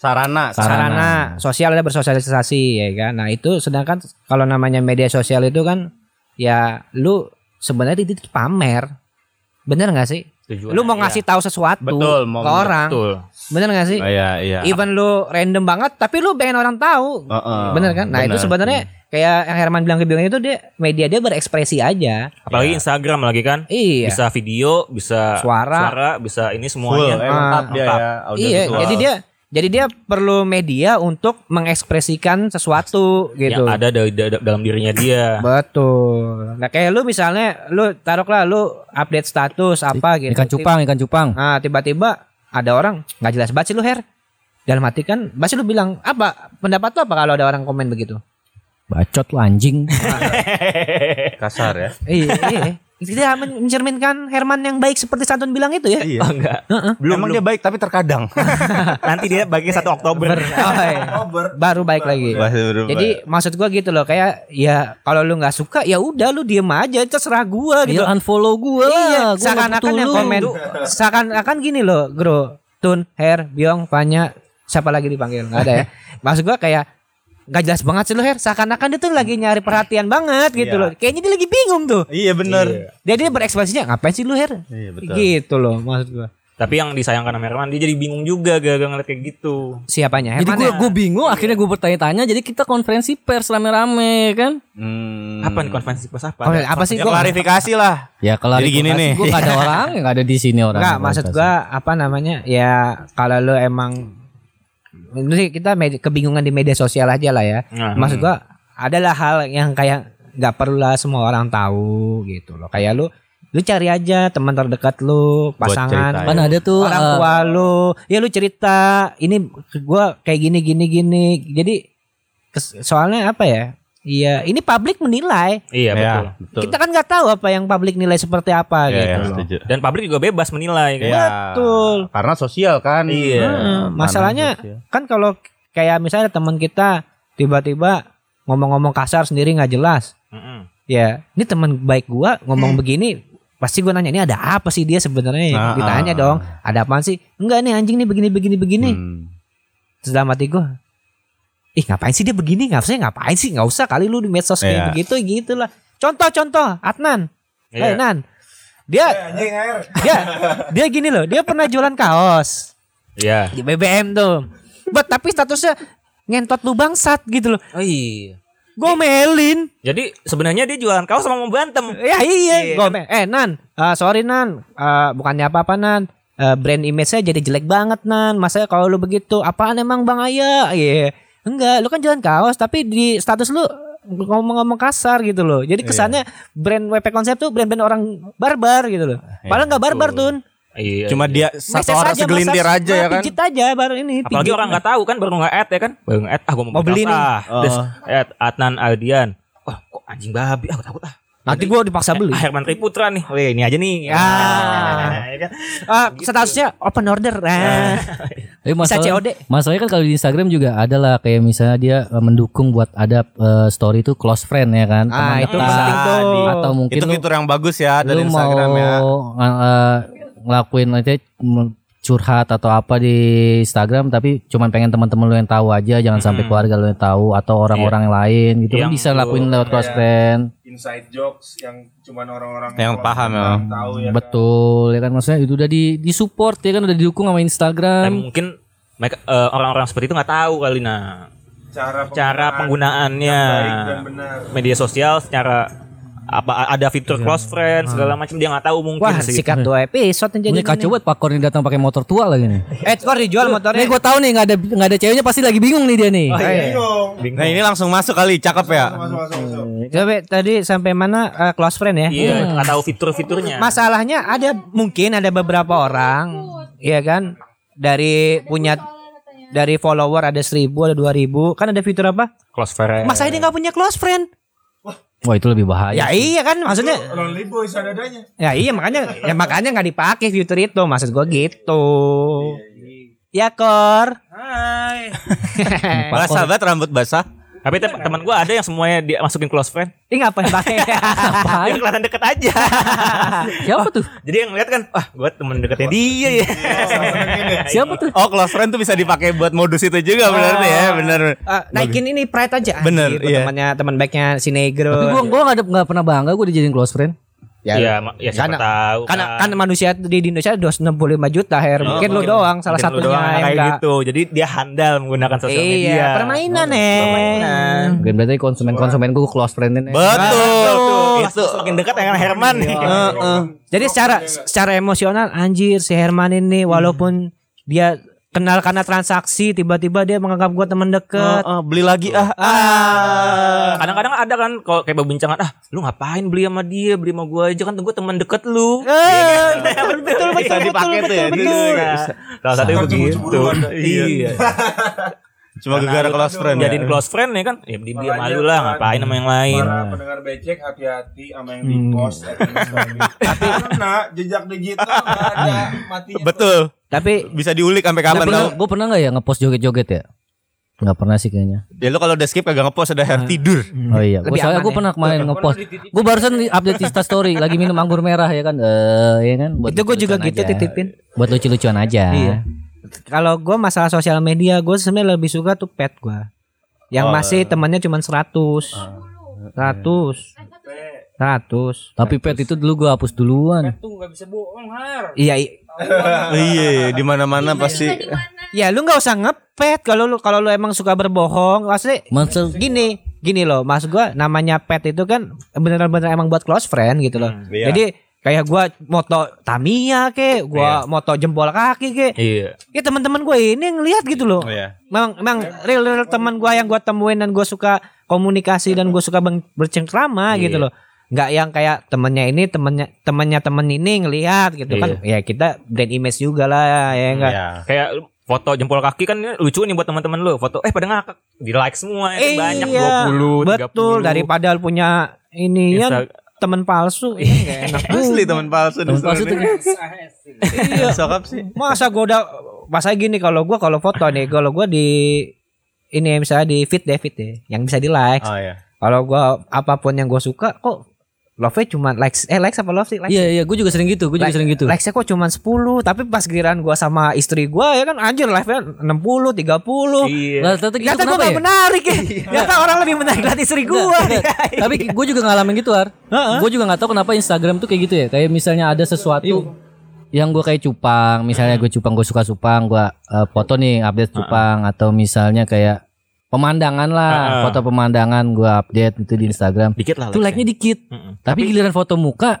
C: Sarana.
D: Sarana.
B: sarana sosial ada bersosialisasi ya kan. Nah, itu sedangkan kalau namanya media sosial itu kan ya lu sebenarnya itu pamer. Bener gak sih?
A: Tujuan-
B: Lu mau
A: iya.
B: ngasih tahu sesuatu
C: Betul, mau
B: ke orang.
A: Betul.
B: Bener gak sih?
C: Oh, iya, iya.
B: Even lu random banget tapi lu pengen orang tahu.
C: Heeh.
B: bener kan? Nah, itu
C: bener.
B: sebenarnya kayak yang Herman bilang kebingungan itu dia media dia berekspresi aja.
A: Apalagi Instagram lagi kan.
B: Iya.
A: Bisa video, bisa
B: Suara.
A: bisa ini
C: Full,
A: semuanya.
C: emang lengkap dia
A: lengkap.
C: ya. audio
B: ah. iya,
C: visual.
B: jadi dia jadi dia perlu media untuk mengekspresikan sesuatu
C: Ya,
B: gitu.
A: Yang ada dari da- da- dalam dirinya [LAUGHS]
B: Iya.
A: dia.
B: Betul. Nah, kayak lu misalalnya lu taruhlah lu update status apa gitu.
D: Ikan cupang, ikan cupang.
B: Nah, tiba-tiba ada orang nggak jelas banget sih lu, Her. Dalam hati kan, pasti lu bilang, "Apa pendapat lu apa kalau ada orang komen begitu?"
D: Bacot lu [LAUGHS] anjing.
C: kasar ya.
B: Iya, [LAUGHS] iya. Kita men- mencerminkan Herman yang baik seperti Santun bilang itu ya.
C: Iya.
A: Oh, enggak.
C: Belum, Emang dia baik tapi terkadang.
A: Nanti dia bagi 1 Oktober.
B: [LAUGHS] Oh, iya.
E: Over.
B: Baru baik lagi. Jadi maksud gua gitu loh, kayak ya kalau lu nggak suka ya udah lu diem aja terserah gua
D: Dia
B: gitu.
D: unfollow gue
B: Iya,
D: lah. Gua nggak
B: seakan-akan
D: butuh
B: yang
D: lu.
B: komen. Seakan-akan gini loh, Bro. Tun, Her, Biong, Fanya, siapa lagi dipanggil? Gak ada ya. Maksud gua kayak Gak jelas banget sih lo Her Seakan-akan dia tuh lagi nyari perhatian banget gitu
C: Iya.
B: loh Kayaknya dia lagi bingung tuh
C: Iya benar.
B: Dia dia berekspresinya Ngapain sih lo Her
C: Iya betul.
B: Gitu loh maksud gua
A: Tapi yang disayangkan sama Herman dia jadi bingung juga gara-gara ngeliat kayak gitu.
B: Siapanya
D: Jadi
B: Herman
D: gue
B: ya?
D: gue bingung. Akhirnya gue bertanya-tanya. Jadi kita konferensi pers rame-rame kan.
C: Hmm.
A: Apa nih konferensi pers apa?
B: Oh, apa sih
C: Ya,
B: gua
C: klarifikasi lah.
D: Ya kalau
C: Jadi gini nih.
D: Gue gak ada
B: [LAUGHS]
D: orang, gak ada di sini orang.
B: Enggak, maksud gua apa namanya? Ya kalau lu emang ini sih kita med- kebingungan di media sosial aja lah ya.
A: Nah,
B: maksud
C: hmm.
B: gua adalah hal yang kayak nggak perlu lah semua orang tahu gitu loh. Kayak lu lu cari aja teman terdekat lu, pasangan,
C: ceritain.
D: Kan ada tuh
B: orang
D: eh,
B: tua lu. Ya lu cerita, ini gua kayak gini gini gini. Jadi kes- soalnya apa ya? Iya, ini publik menilai.
A: Iya
C: Ya,
A: betul.
C: betul.
B: Kita kan nggak tahu apa yang publik nilai seperti apa
C: Iya,
B: gitu
C: iya,
B: loh.
C: setuju.
A: Dan publik juga bebas menilai kan.
C: Iya.
B: Betul.
C: Karena sosial kan.
A: Iya.
B: Heeh,
C: Karena
B: masalahnya
C: sosial.
B: kan kalau kayak misalnya teman kita tiba-tiba ngomong-ngomong kasar sendiri nggak jelas
A: Mm-mm.
B: ya ini teman baik gua ngomong begini pasti gua nanya ini ada apa sih dia sebenarnya ya?
C: Nah, Hmm.
B: ditanya
C: ah.
B: dong ada apaan sih enggak nih anjing nih begini begini begini
C: Hmm.
B: Terus dalam hati gua ih ngapain sih dia begini nggak usah ngapain sih nggak usah kali lu di medsos
C: Iya.
B: kayak begitu gitulah contoh-contoh Adnan
A: Iya.
B: eh Nan dia
E: Anjing air.
B: dia dia gini loh dia pernah jualan kaos
A: Iya.
B: di BBM tuh. But, tapi statusnya ngentot lu bangsat gitu loh.
A: Oh iya.
B: Gomelin.
A: Jadi sebenarnya dia jualan kaos sama membantem.
B: Ya iya,
A: Iya.
B: gomel. Eh Nan, eh, sorry Nan, Eh, bukannya apa-apa Nan. Eh, brand image-nya jadi jelek banget Nan. Masa kalau lu begitu, apaan emang Bang Aya? Iya. Enggak, lu kan jalan kaos tapi di status lu ngomong-ngomong kasar gitu loh.
C: Iya.
B: Jadi kesannya brand WP konsep tuh brand-brand orang barbar gitu loh. Padahal nggak barbar tuh.
A: Iya.
C: Cuma dia satu
B: Message
C: orang
B: aja,
C: segelintir
B: message.
C: aja
B: Nah,
C: ya kan.
B: Pijit aja baru ini.
A: Apalagi
B: pijit.
A: orang nggak tahu kan baru nge-add ya kan? Baru nge-add ah gua mau,
B: Mau beli nih.
A: Ah. Terus
C: Oh.
A: add Adnan Aldian. Wah, kok anjing babi aku takut ah.
B: Nanti gua dipaksa beli.
A: Ah, Herman Triputra nih. Wih, iya, ini aja nih.
B: Ah.
A: Ya kan?
B: Ah,
D: Gitu.
B: statusnya open order. Ah.
D: eh,
B: Bisa
D: masalah,
B: COD.
D: masalahnya kan kalau di Instagram juga ada lah kayak misalnya dia eh, mendukung buat ada eh, story itu close friend ya kan. Teman
B: Ah, itu
D: dekat.
B: penting tuh.
D: Atau mungkin
C: itu
D: lu,
C: fitur yang bagus ya dari
D: lu
C: Instagram
D: mau
C: ya.
D: ng- eh, ngelakuin nanti m- curhat atau apa di Instagram tapi cuman pengen teman-teman lu yang tahu aja jangan sampai
A: Mm.
D: keluarga lu yang tahu atau orang-orang yang lain gitu kan
A: Yang
D: bisa
A: lu-
D: lakuin lewat close
E: Iya.
D: friend
E: Inside jokes yang cuman orang-orang
C: Yang
E: kelas
C: paham
E: menengah Tahu ya. kan.
D: betul ya kan maksudnya itu udah di di support ya kan udah didukung sama
A: Dan
D: Instagram
A: mungkin mereka eh, orang-orang seperti itu nggak tahu kali nah
E: Cara
A: cara penggunaannya
E: yang baik dan benar.
A: media sosial secara apa ada fitur close friend segala macam dia nggak tahu mungkin
B: Wah,
A: sih.
B: sikat dua episode yang jadi.
D: Ini kacau banget Pak Kor ini datang pakai motor tua lagi nih.
B: Eh, Kor dijual
D: Ini
B: motornya.
D: gue tahu nih nggak ada nggak ada ceweknya pasti lagi bingung nih dia nih.
A: Oh, iya.
E: Bingung.
A: Bingung.
C: Nah ini langsung masuk kali, cakep ya.
E: Masuk, masuk, masuk.
B: Coba tadi sampai mana eh, close friend ya?
A: Iya, nggak tahu fitur-fiturnya.
B: Masalahnya ada mungkin ada beberapa orang, ya kan? Dari punya dari follower ada seribu ada dua ribu kan ada fitur apa?
A: close friend.
B: Masa dia nggak punya close friend?
D: Oh, Wah itu lebih bahaya.
B: Ya iya kan maksudnya
E: Lonely boy sadadanya.
B: ya iya makanya ya makanya nggak dipakai fitur itu maksud gua gitu. Ya Kor.
E: Hai.
C: Malah sahabat rambut basah.
A: Tapi tem-
B: iya.
A: teman gue ada yang semuanya dia masukin close friend.
B: [LAUGHS] Ini ngapain [LAUGHS] pakai?
A: Dia kelihatan deket
B: [LAUGHS]
A: aja.
D: Siapa tuh?
A: Jadi yang ngeliat kan, ah gue temen deketnya dia ya.
D: Siapa tuh?
C: Oh, close friend tuh bisa dipakai buat modus itu juga berarti ya, bener.
B: Eh, naikin ini pride aja. anjir,
C: Bener,
B: buat
C: iya.
B: Temannya teman baiknya si Negro.
D: Tapi gua gua nggak ada- nggak pernah bangga gua dijadiin close friend.
A: Ya, ya, ma- ya siapa
B: Karena-
A: tahu.
B: Karena kan manusia di di Indonesia 265 juta her. Mungkin lu doang salah
A: Oh, Mungkin lu
B: satunya
A: doang
B: yang
A: kayak
B: enggak.
A: gitu. Jadi dia handal menggunakan sosial media. Nah,
B: Iya, permainan
A: Permainan.
B: eh.
D: Mungkin berarti konsumen-konsumen gua close friendin. eh.
C: Betul.
A: Itu makin Iya, dekat dengan Herman
C: Iya.
A: nih.
B: Jadi secara secara emosional anjir si Herman
A: Hmm.
B: ini walaupun dia kenal karena transaksi tiba-tiba dia menganggap gua teman
A: Oh,
B: dekat.
C: Heeh, beli lagi ah. Ah.
A: [LAUGHS] Kadang-kadang ada kan kalau kayak perbincangan, ah lu ngapain beli sama dia, beli sama gue aja kan gue teman deket lu.
B: Eh,
A: gitu,
B: betul betul
C: Bisa dipakai tuh ya. dia juga bisa.
A: kan. Salah satunya
E: Sama
A: begitu.
E: cemburu-cemburuan.
A: Iya.
C: Cuma gara-gara close friend. ya.
A: Jadiin close friend ya kan, ya dia dia
E: Makanya
A: malu lah
E: kan,
A: ngapain sama yang lain.
E: Para pendengar becek hati-hati sama yang di post at Instagram. Karena jejak digital nggak ada matinya.
C: Betul.
A: oh.
B: Tapi
C: Bisa diulik sampai
D: Gua
C: kapan
D: pernah,
C: tau.
D: gua pernah nggak ya ngepost joget-joget ya? Nggak pernah sih kayaknya.
C: Ya lu kalau udah skip kagak ngepost ada hair tidur.
D: Oh iya, gua,
B: Lebih
D: soalnya
B: aman
D: gua
B: ya.
D: pernah kemarin ngepost. Gua barusan di- update Insta story lagi minum anggur merah ya kan. Eh, ya kan. Buat
B: itu gua juga
D: lucu-lucuan
B: gitu
D: aja.
B: titipin.
D: Buat lucu-lucuan aja.
B: Iya. Kalau gua masalah sosial media gua sebenarnya lebih suka tuh pet gua Yang masih temannya cuma 100. 100. 100.
D: Tapi pet itu dulu gua hapus duluan.
B: Iya, i-
C: Iya, di mana-mana pasti.
B: ya lu nggak usah ngepet kalau lu kalau lu emang suka berbohong, maksudnya
D: Masa
B: gini gini loh mas gua namanya pet itu kan bener-bener emang buat close friend gitu loh
C: iya.
B: jadi kayak gua moto Tamiya ke gua moto jempol kaki ke
A: Iya.
B: ya teman-teman gue ini ngelihat gitu loh
C: Iya.
B: memang memang real real teman gua yang gua temuin dan gua suka komunikasi dan gua suka beng- bercengkrama gitu loh nggak yang kayak temennya ini temennya temennya temen ini ngelihat gitu kan ya kita brand image juga lah ya enggak
C: Iya.
A: Kayak lu foto jempol kaki kan ini lucu nih buat teman-teman lu. Foto eh pada ngakak, di like semua
D: Iya,
A: itu banyak 20, 30.
B: Iya, betul daripada lu punya ini ya
A: Insta-
B: teman palsu iya,
C: [LAUGHS]
B: nggak enak
C: Asli teman palsu
D: temen palsu tuh
C: Iya, sokap sih.
B: masa gua udah masa gini kalau gua kalau foto nih kalau gua di ini ya, misalnya di feed deh feed deh yang bisa di like
C: Oh iya.
B: kalau gua apapun yang gua suka kok love nya cuma likes eh likes apa love sih likes
D: Iya iya, gue juga sering gitu, gue juga
B: Like-
D: sering gitu.
B: likes nya kok cuma 10 tapi pas giliran gua sama istri gua ya kan anjir live nya 60 30
A: Iya.
D: Lah, ternyata gitu
B: Ternyata gua
D: kenapa
B: gak
D: ya?
B: menarik ya Ternyata orang lebih menarik dari istri gua ya.
D: Enggak, enggak. Tapi gue juga ngalamin gitu, Har. Gue juga nggak tahu kenapa Instagram tuh kayak gitu ya. Kayak misalnya ada sesuatu yang gue kayak cupang, misalnya gue cupang, gue suka cupang, gue eh, foto nih update cupang atau misalnya kayak pemandangan lah,
A: Heeh.
D: foto pemandangan gue update itu di Instagram.
A: Dikit lah.
D: Tuh like-nya dikit,
A: Mm-mm.
D: tapi giliran foto muka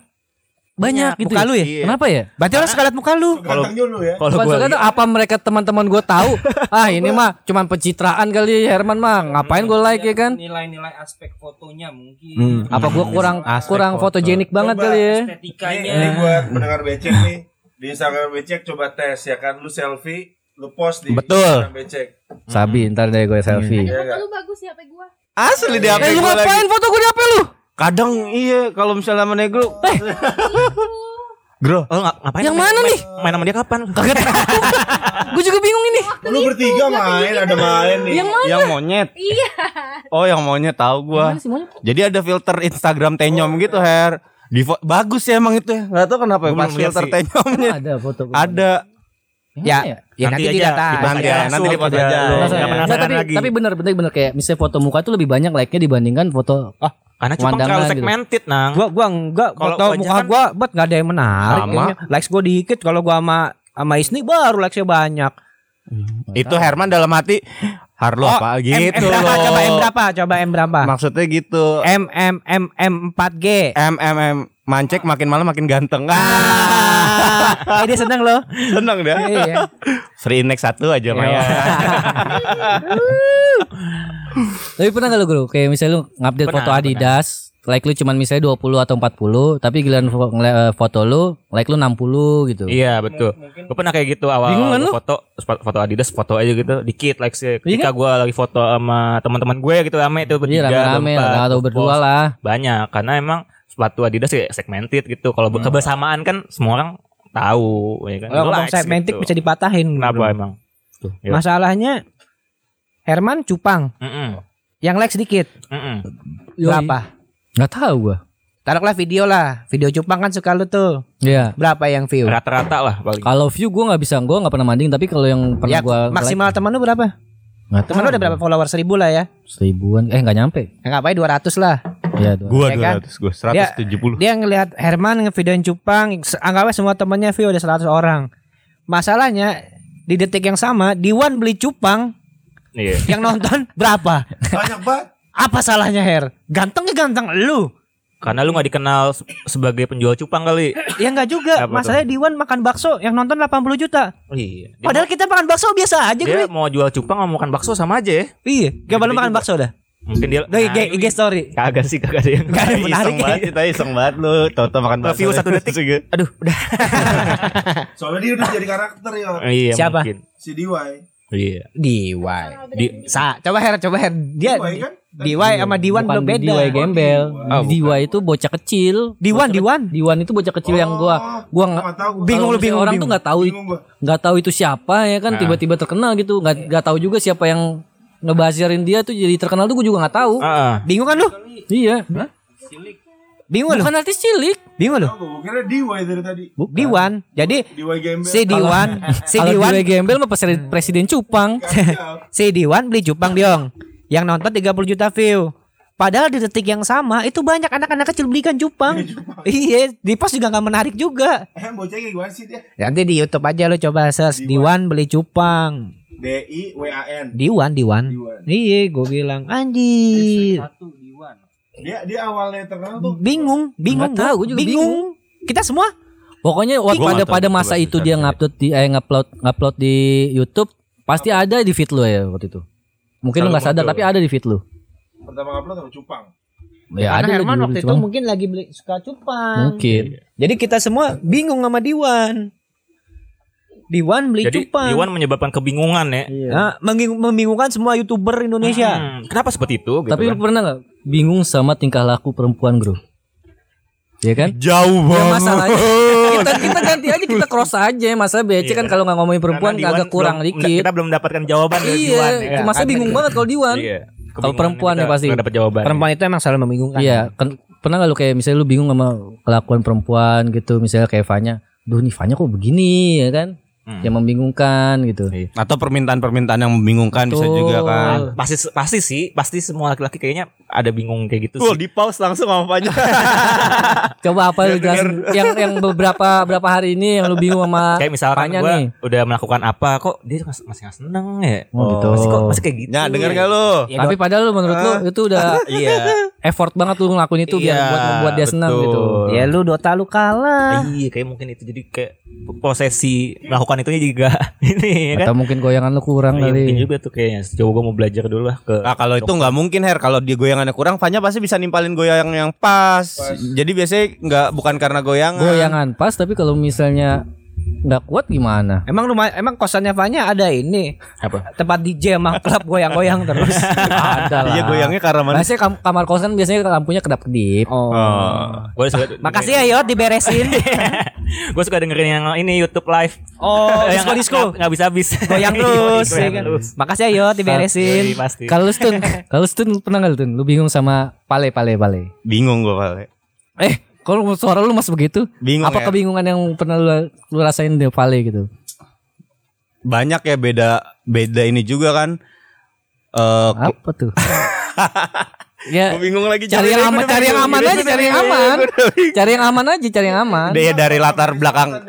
D: banyak gitu.
B: Muka lu ya?
D: Kenapa ya?
B: Berarti orang suka liat muka lu
E: Kalau dulu ya.
A: Kalau
D: Maksudnya
A: gua
D: tuh apa mereka teman-teman gue tahu? [LAUGHS] ah ini mah cuman pencitraan kali Herman mah. Ngapain gue like ya kan?
G: nilai-nilai aspek fotonya mungkin
D: Apa gue kurang kurang fotogenik banget
E: Coba.
D: kali ya?
E: Ini,
G: estetikanya
E: ini buat pendengar becek nih. Di Instagram becek coba tes ya kan. Lu selfie, lu post di
C: Betul.
E: Instagram becek.
D: Sabi, ntar deh gue selfie.
E: Iya
F: Foto
E: nggak?
F: lu bagus ya, HP gua.
C: Asli di HP
D: Eh lu
C: gua lagi.
D: ngapain foto gue di HP lu?
C: Kadang iya kalau misalnya sama negro.
A: Oh, nga- ngapain?
D: Yang
A: main-
D: mana
A: main-
D: nih? Ya,
A: Main sama dia
D: [LAUGHS]
A: kapan?
D: Gue juga bingung ini.
E: Lu bertiga main, ada main nih.
F: Yang mana?
C: Yang monyet.
F: Iya.
C: Oh, yang monyet tahu gua. Jadi ada filter Instagram tenyom gitu, Her. Di fo- bagus ya emang itu ya. Gak tau kenapa ya
A: Gua
C: pas
A: belum lihat
C: filter
A: sih.
C: tenyomnya.
D: [LAUGHS] Ada foto gue.
C: Ada
B: Ya, ya nanti,
A: aja, di post
C: Nanti
B: tidak
A: aja
C: ya,
A: langsung.
C: nanti di post
A: Lu
C: aja. Nggak
A: nggak
C: penasaran
D: Nggak, tapi,
A: lagi.
D: tapi bener bener bener kayak misalnya foto muka itu lebih banyak like-nya dibandingkan foto
A: Ah, karena cuma
D: Pemandangan
A: terlalu
D: gitu.
A: segmented, Nang.
B: gua gua enggak
A: Kalau
B: foto
A: gua aja
B: muka
A: kan-
B: gua buat nggak ada yang menarik
C: Sama.
B: kayaknya. likes gua dikit kalau gua sama sama Isni baru likesnya banyak
C: Itu Herman dalam hati Harlo
B: Oh,
C: apa
B: M, M
C: gitu
B: berapa
C: loh.
B: coba M berapa coba M berapa
C: Maksudnya gitu.
B: M M M M 4G
C: M M M mancek makin malam makin ganteng. Ah,
B: eh dia seneng loh
C: seneng dia.
B: iya
C: Free index satu aja Maya.
D: Tapi pernah gak lu guru? Kayak misalnya lu ngupdate
A: Pernah,
D: foto Adidas Like lu cuman misalnya 20 atau 40 Tapi giliran fo- ngeliat, eh, foto lu Like lu 60 gitu
A: Iya betul. Gue pernah kayak gitu awal
D: Bingung kan
A: gua
D: lu?
A: foto sp- foto Adidas foto aja gitu dikit like sih.
D: Iya
A: Ketika gue lagi foto sama teman-teman gue gitu rame itu
D: Iya
A: bertiga
D: rame-rame
A: berempat,
D: Atau
A: berpos.
D: berdua lah
A: Banyak karena emang sepatu Adidas ya segmented gitu. Kalau kebersamaan kan semua orang tahu ya kan.
B: Hmm. kalau
A: Lu
B: ngomong
A: likes
B: segmentik
A: gitu.
B: bisa dipatahin
A: Kenapa Iya. emang? tuh. Yuk.
B: Masalahnya Herman cupang,
A: Mm-mm.
B: yang like sedikit.
A: Mm-mm.
B: Berapa?
D: Nggak tahu gua.
B: Taruhlah video lah. Video cupang kan suka lu tuh.
D: Ya.
B: Berapa yang view?
A: Rata-rata lah paling.
D: Kalau view gua nggak bisa, gua nggak pernah manding. Tapi kalau yang pernah
B: Ya,
D: gua
B: maksimal teman lu berapa?
D: Nggak
B: Teman lu ada berapa follower? Seribu lah ya.
D: seribuan, eh nggak nyampe.
B: Enggak apa-apa 200 lah.
D: Ya, dua.
C: Gua
B: Ya kan?
C: 200, gua 170.
B: Dia ngelihat Herman ngevideoin cupang, se- anggapnya semua temannya view ada 100 orang. Masalahnya di detik yang sama Diwan beli cupang
A: Iya.
B: yang nonton [LAUGHS] berapa?
E: Banyak banget.
B: Apa salahnya Her? Gantengnya ganteng lu.
A: Karena lu nggak dikenal se- sebagai penjual cupang kali.
B: Ya enggak juga.
A: Apa tuh?
B: Masalahnya Diwan makan bakso yang nonton 80 juta.
A: Iya. Dia,
B: Padahal kan- kita makan bakso biasa aja
A: dia
B: gue.
A: mau jual cupang mau makan bakso sama aja ya.
B: Iya, gak perlu makan
A: juga.
B: bakso dah.
A: Mungkin dia
B: Dari
A: Nah,
B: IG, IG story.
A: Kagak sih kagak ada yang
B: Gak ada yang menarik
C: [LAUGHS] Iseng banget,
B: ya.
C: kita iseng banget lu. Toto makan bakso. ya.
A: Review satu detik. Aduh udah
E: Soalnya dia udah jadi karakter ya.
A: [LAUGHS] Iya
B: Siapa?
A: mungkin.
E: Si DIY.
A: Iya
B: Diwai.
A: Di
B: Sa, coba Her, coba Her. Dia
E: DIY kan?
B: Diwai sama Diwan
D: Bukan
B: belum beda.
D: Diwai gembel.
C: Oh, bukan.
D: Diwai itu bocah kecil.
B: Diwan,
D: Bocah-
B: Diwan.
D: Diwan itu bocah kecil yang gua gua nggak
E: Nggak tahu.
B: Bingung
D: kalau
B: lu, bingung,
D: misalnya orang
B: bingung. Nah.
D: tuh nggak tahu
E: Bingung gua.
D: nggak tahu itu siapa ya kan tiba-tiba terkenal gitu nggak nggak tahu juga siapa yang ngebasirin dia tuh jadi terkenal tuh gue juga nggak tahu
A: Ah,
B: Bingung kan lu?
D: iya
B: Bingung lu?
D: bukan artis cilik
B: Bingung lu?
E: Tahu gua kira DIY dari tadi.
B: Diwan. Jadi
E: DIY Gembel.
B: si Diwan, si Hmm.
D: kalau
B: Diwan,
D: Dewa Gembel mah presiden, presiden cupang
B: [LAUGHS]
E: Kacau.
B: si Diwan beli cupang diong. Yang nonton 30 juta view. Padahal di detik yang sama itu banyak anak-anak kecil belikan cupang. [LAUGHS] Iya, di post juga nggak menarik juga.
E: [LAUGHS] Eh bocah kayak gimana sih dia?
B: Nanti di YouTube aja lo coba search Diwan beli cupang.
E: D I W A N.
B: Diwan, Diwan. Eh,
E: Diwan.
B: Iya, gue bilang anjir.
G: Satu Diwan.
E: Dia dia awalnya terkenal tuh
B: Bingung, bingung,
D: Nggak tahu, gua juga
B: bingung. Kita semua
D: pokoknya waktu
C: Gua
D: pada
C: nggak tahu
D: pada
C: itu
D: masa
C: bahasa
D: itu dia
C: Indonesia.
D: ngupload di eh, ngupload ngupload di YouTube pasti ada di feed lu ya waktu itu mungkin lu
C: Selalu
D: nggak sadar
C: muncul.
D: tapi ada di feed lu
E: pertama upload sama Cupang.
D: ya
B: Karena
D: ada
B: Herman
D: di-
B: waktu itu
D: cuma-
B: mungkin Iya. lagi beli suka cupang.
D: mungkin
B: Jadi kita semua bingung sama Diwan. Diwan beli
A: jadi
B: cupang.
A: Iwan menyebabkan kebingungan ya.
B: Ah, mengingu- membingungkan semua youtuber Indonesia.
A: Hmm, kenapa seperti itu? Gitu
D: tapi lu
A: kan?
D: pernah nggak bingung sama tingkah laku perempuan bro ya kan
C: Jauh
D: Ya
A: [LAUGHS]
D: masalahnya kita, kita ganti aja kita cross aja masalah BC kan kalau nggak ngomongin perempuan
A: Iya. Karena
D: agak
A: Diwan
D: kurang
A: belum-
D: dikit.
A: Kita belum mendapatkan jawaban dari
D: iya,
A: Diwan. ya.
D: masa bingung banget kalau Diwan.
A: Iya.
D: Kalau perempuan
A: Kita
D: ya pasti.
A: nggak dapat jawaban.
B: Perempuan itu emang selalu membingungkan.
D: Iya, kan- pernah nggak lu kayak misalnya lu bingung sama kelakuan perempuan gitu, misalnya kayak Vanya, duh nih Vanya kok begini ya kan?
A: Hmm. Iya.
D: Yang membingungkan gitu.
C: [LAUGHS] Atau permintaan-permintaan yang membingungkan bisa
D: Betul.
C: juga kan.
A: pasti pasti sih, pasti semua laki-laki kayaknya ada bingung kayak gitu
C: Tuh
A: sih.
C: di pause langsung sama [LAUGHS] Fanya.
D: Coba apa lu jelasin yang yang beberapa berapa hari ini yang lu bingung sama
A: Kayak misalkan
D: Vanya
A: gua
D: nih.
A: udah melakukan apa kok dia mas- masih nggak seneng ya.
D: Oh, gitu.
A: Masih kok masih kayak gitu.
C: Nah, denger gak lu?
A: Ya,
D: Tapi padahal lu menurut
C: Ah.
D: lu itu
C: [LAUGHS]
D: udah
A: Iya.
D: effort banget lu ngelakuin itu biar
A: Iya,
D: buat membuat dia senang
A: betul.
D: gitu.
B: Ya lu Dota lu kalah.
A: Iya, kayak mungkin itu jadi kayak prosesi melakukan itunya juga [LAUGHS] ini ya kan.
D: Atau mungkin goyangan lu kurang
A: Iya, mungkin
D: kali.
A: juga tuh kayaknya. Coba gua mau belajar dulu lah ke
C: Ah kalau itu nggak mungkin Her kalau dia goyangannya kurang Fanya pasti bisa nimpalin goyang yang pas. Jadi biasanya nggak bukan karena goyangan.
D: Goyangan pas tapi kalau misalnya nggak kuat gimana?
B: Emang rumah emang kosannya Fanya ada ini
A: apa?
B: tempat DJ sama [LAUGHS] klub goyang-goyang terus.
D: ada lah.
C: [LAUGHS] Iya goyangnya karena mana?
D: Biasanya kam- kamar kosan biasanya lampunya kedap-kedip.
C: Oh.
A: Gua
D: [LAUGHS]
A: suka-
B: Makasih ya Yot diberesin.
A: gue suka dengerin yang ini YouTube live.
B: Oh,
A: Yang
B: disco disco.
A: nggak- Nggak bisa habis. [LAUGHS]
B: Goyang terus. ya kan? Makasih ya Yot diberesin.
A: Yoi, pasti.
D: Kalau lu
A: [LAUGHS]
D: stun, kalau lu stun pernah nggak lu stun? Lu bingung sama pale pale pale.
C: Bingung gue pale.
D: Eh, kalau suara lu masih begitu?
C: Bingung
D: apa
C: ya.
D: kebingungan yang pernah lu, lu rasain di pale gitu?
C: Banyak ya beda beda ini juga kan. Eh [LAUGHS]
D: Apa tuh?
C: gua
D: ya
C: bingung lagi
D: cari yang aman, cari yang aman aja, cari yang
C: [LAUGHS]
D: aman. Cari yang aman aja, cari yang aman.
C: Dia dari latar belakang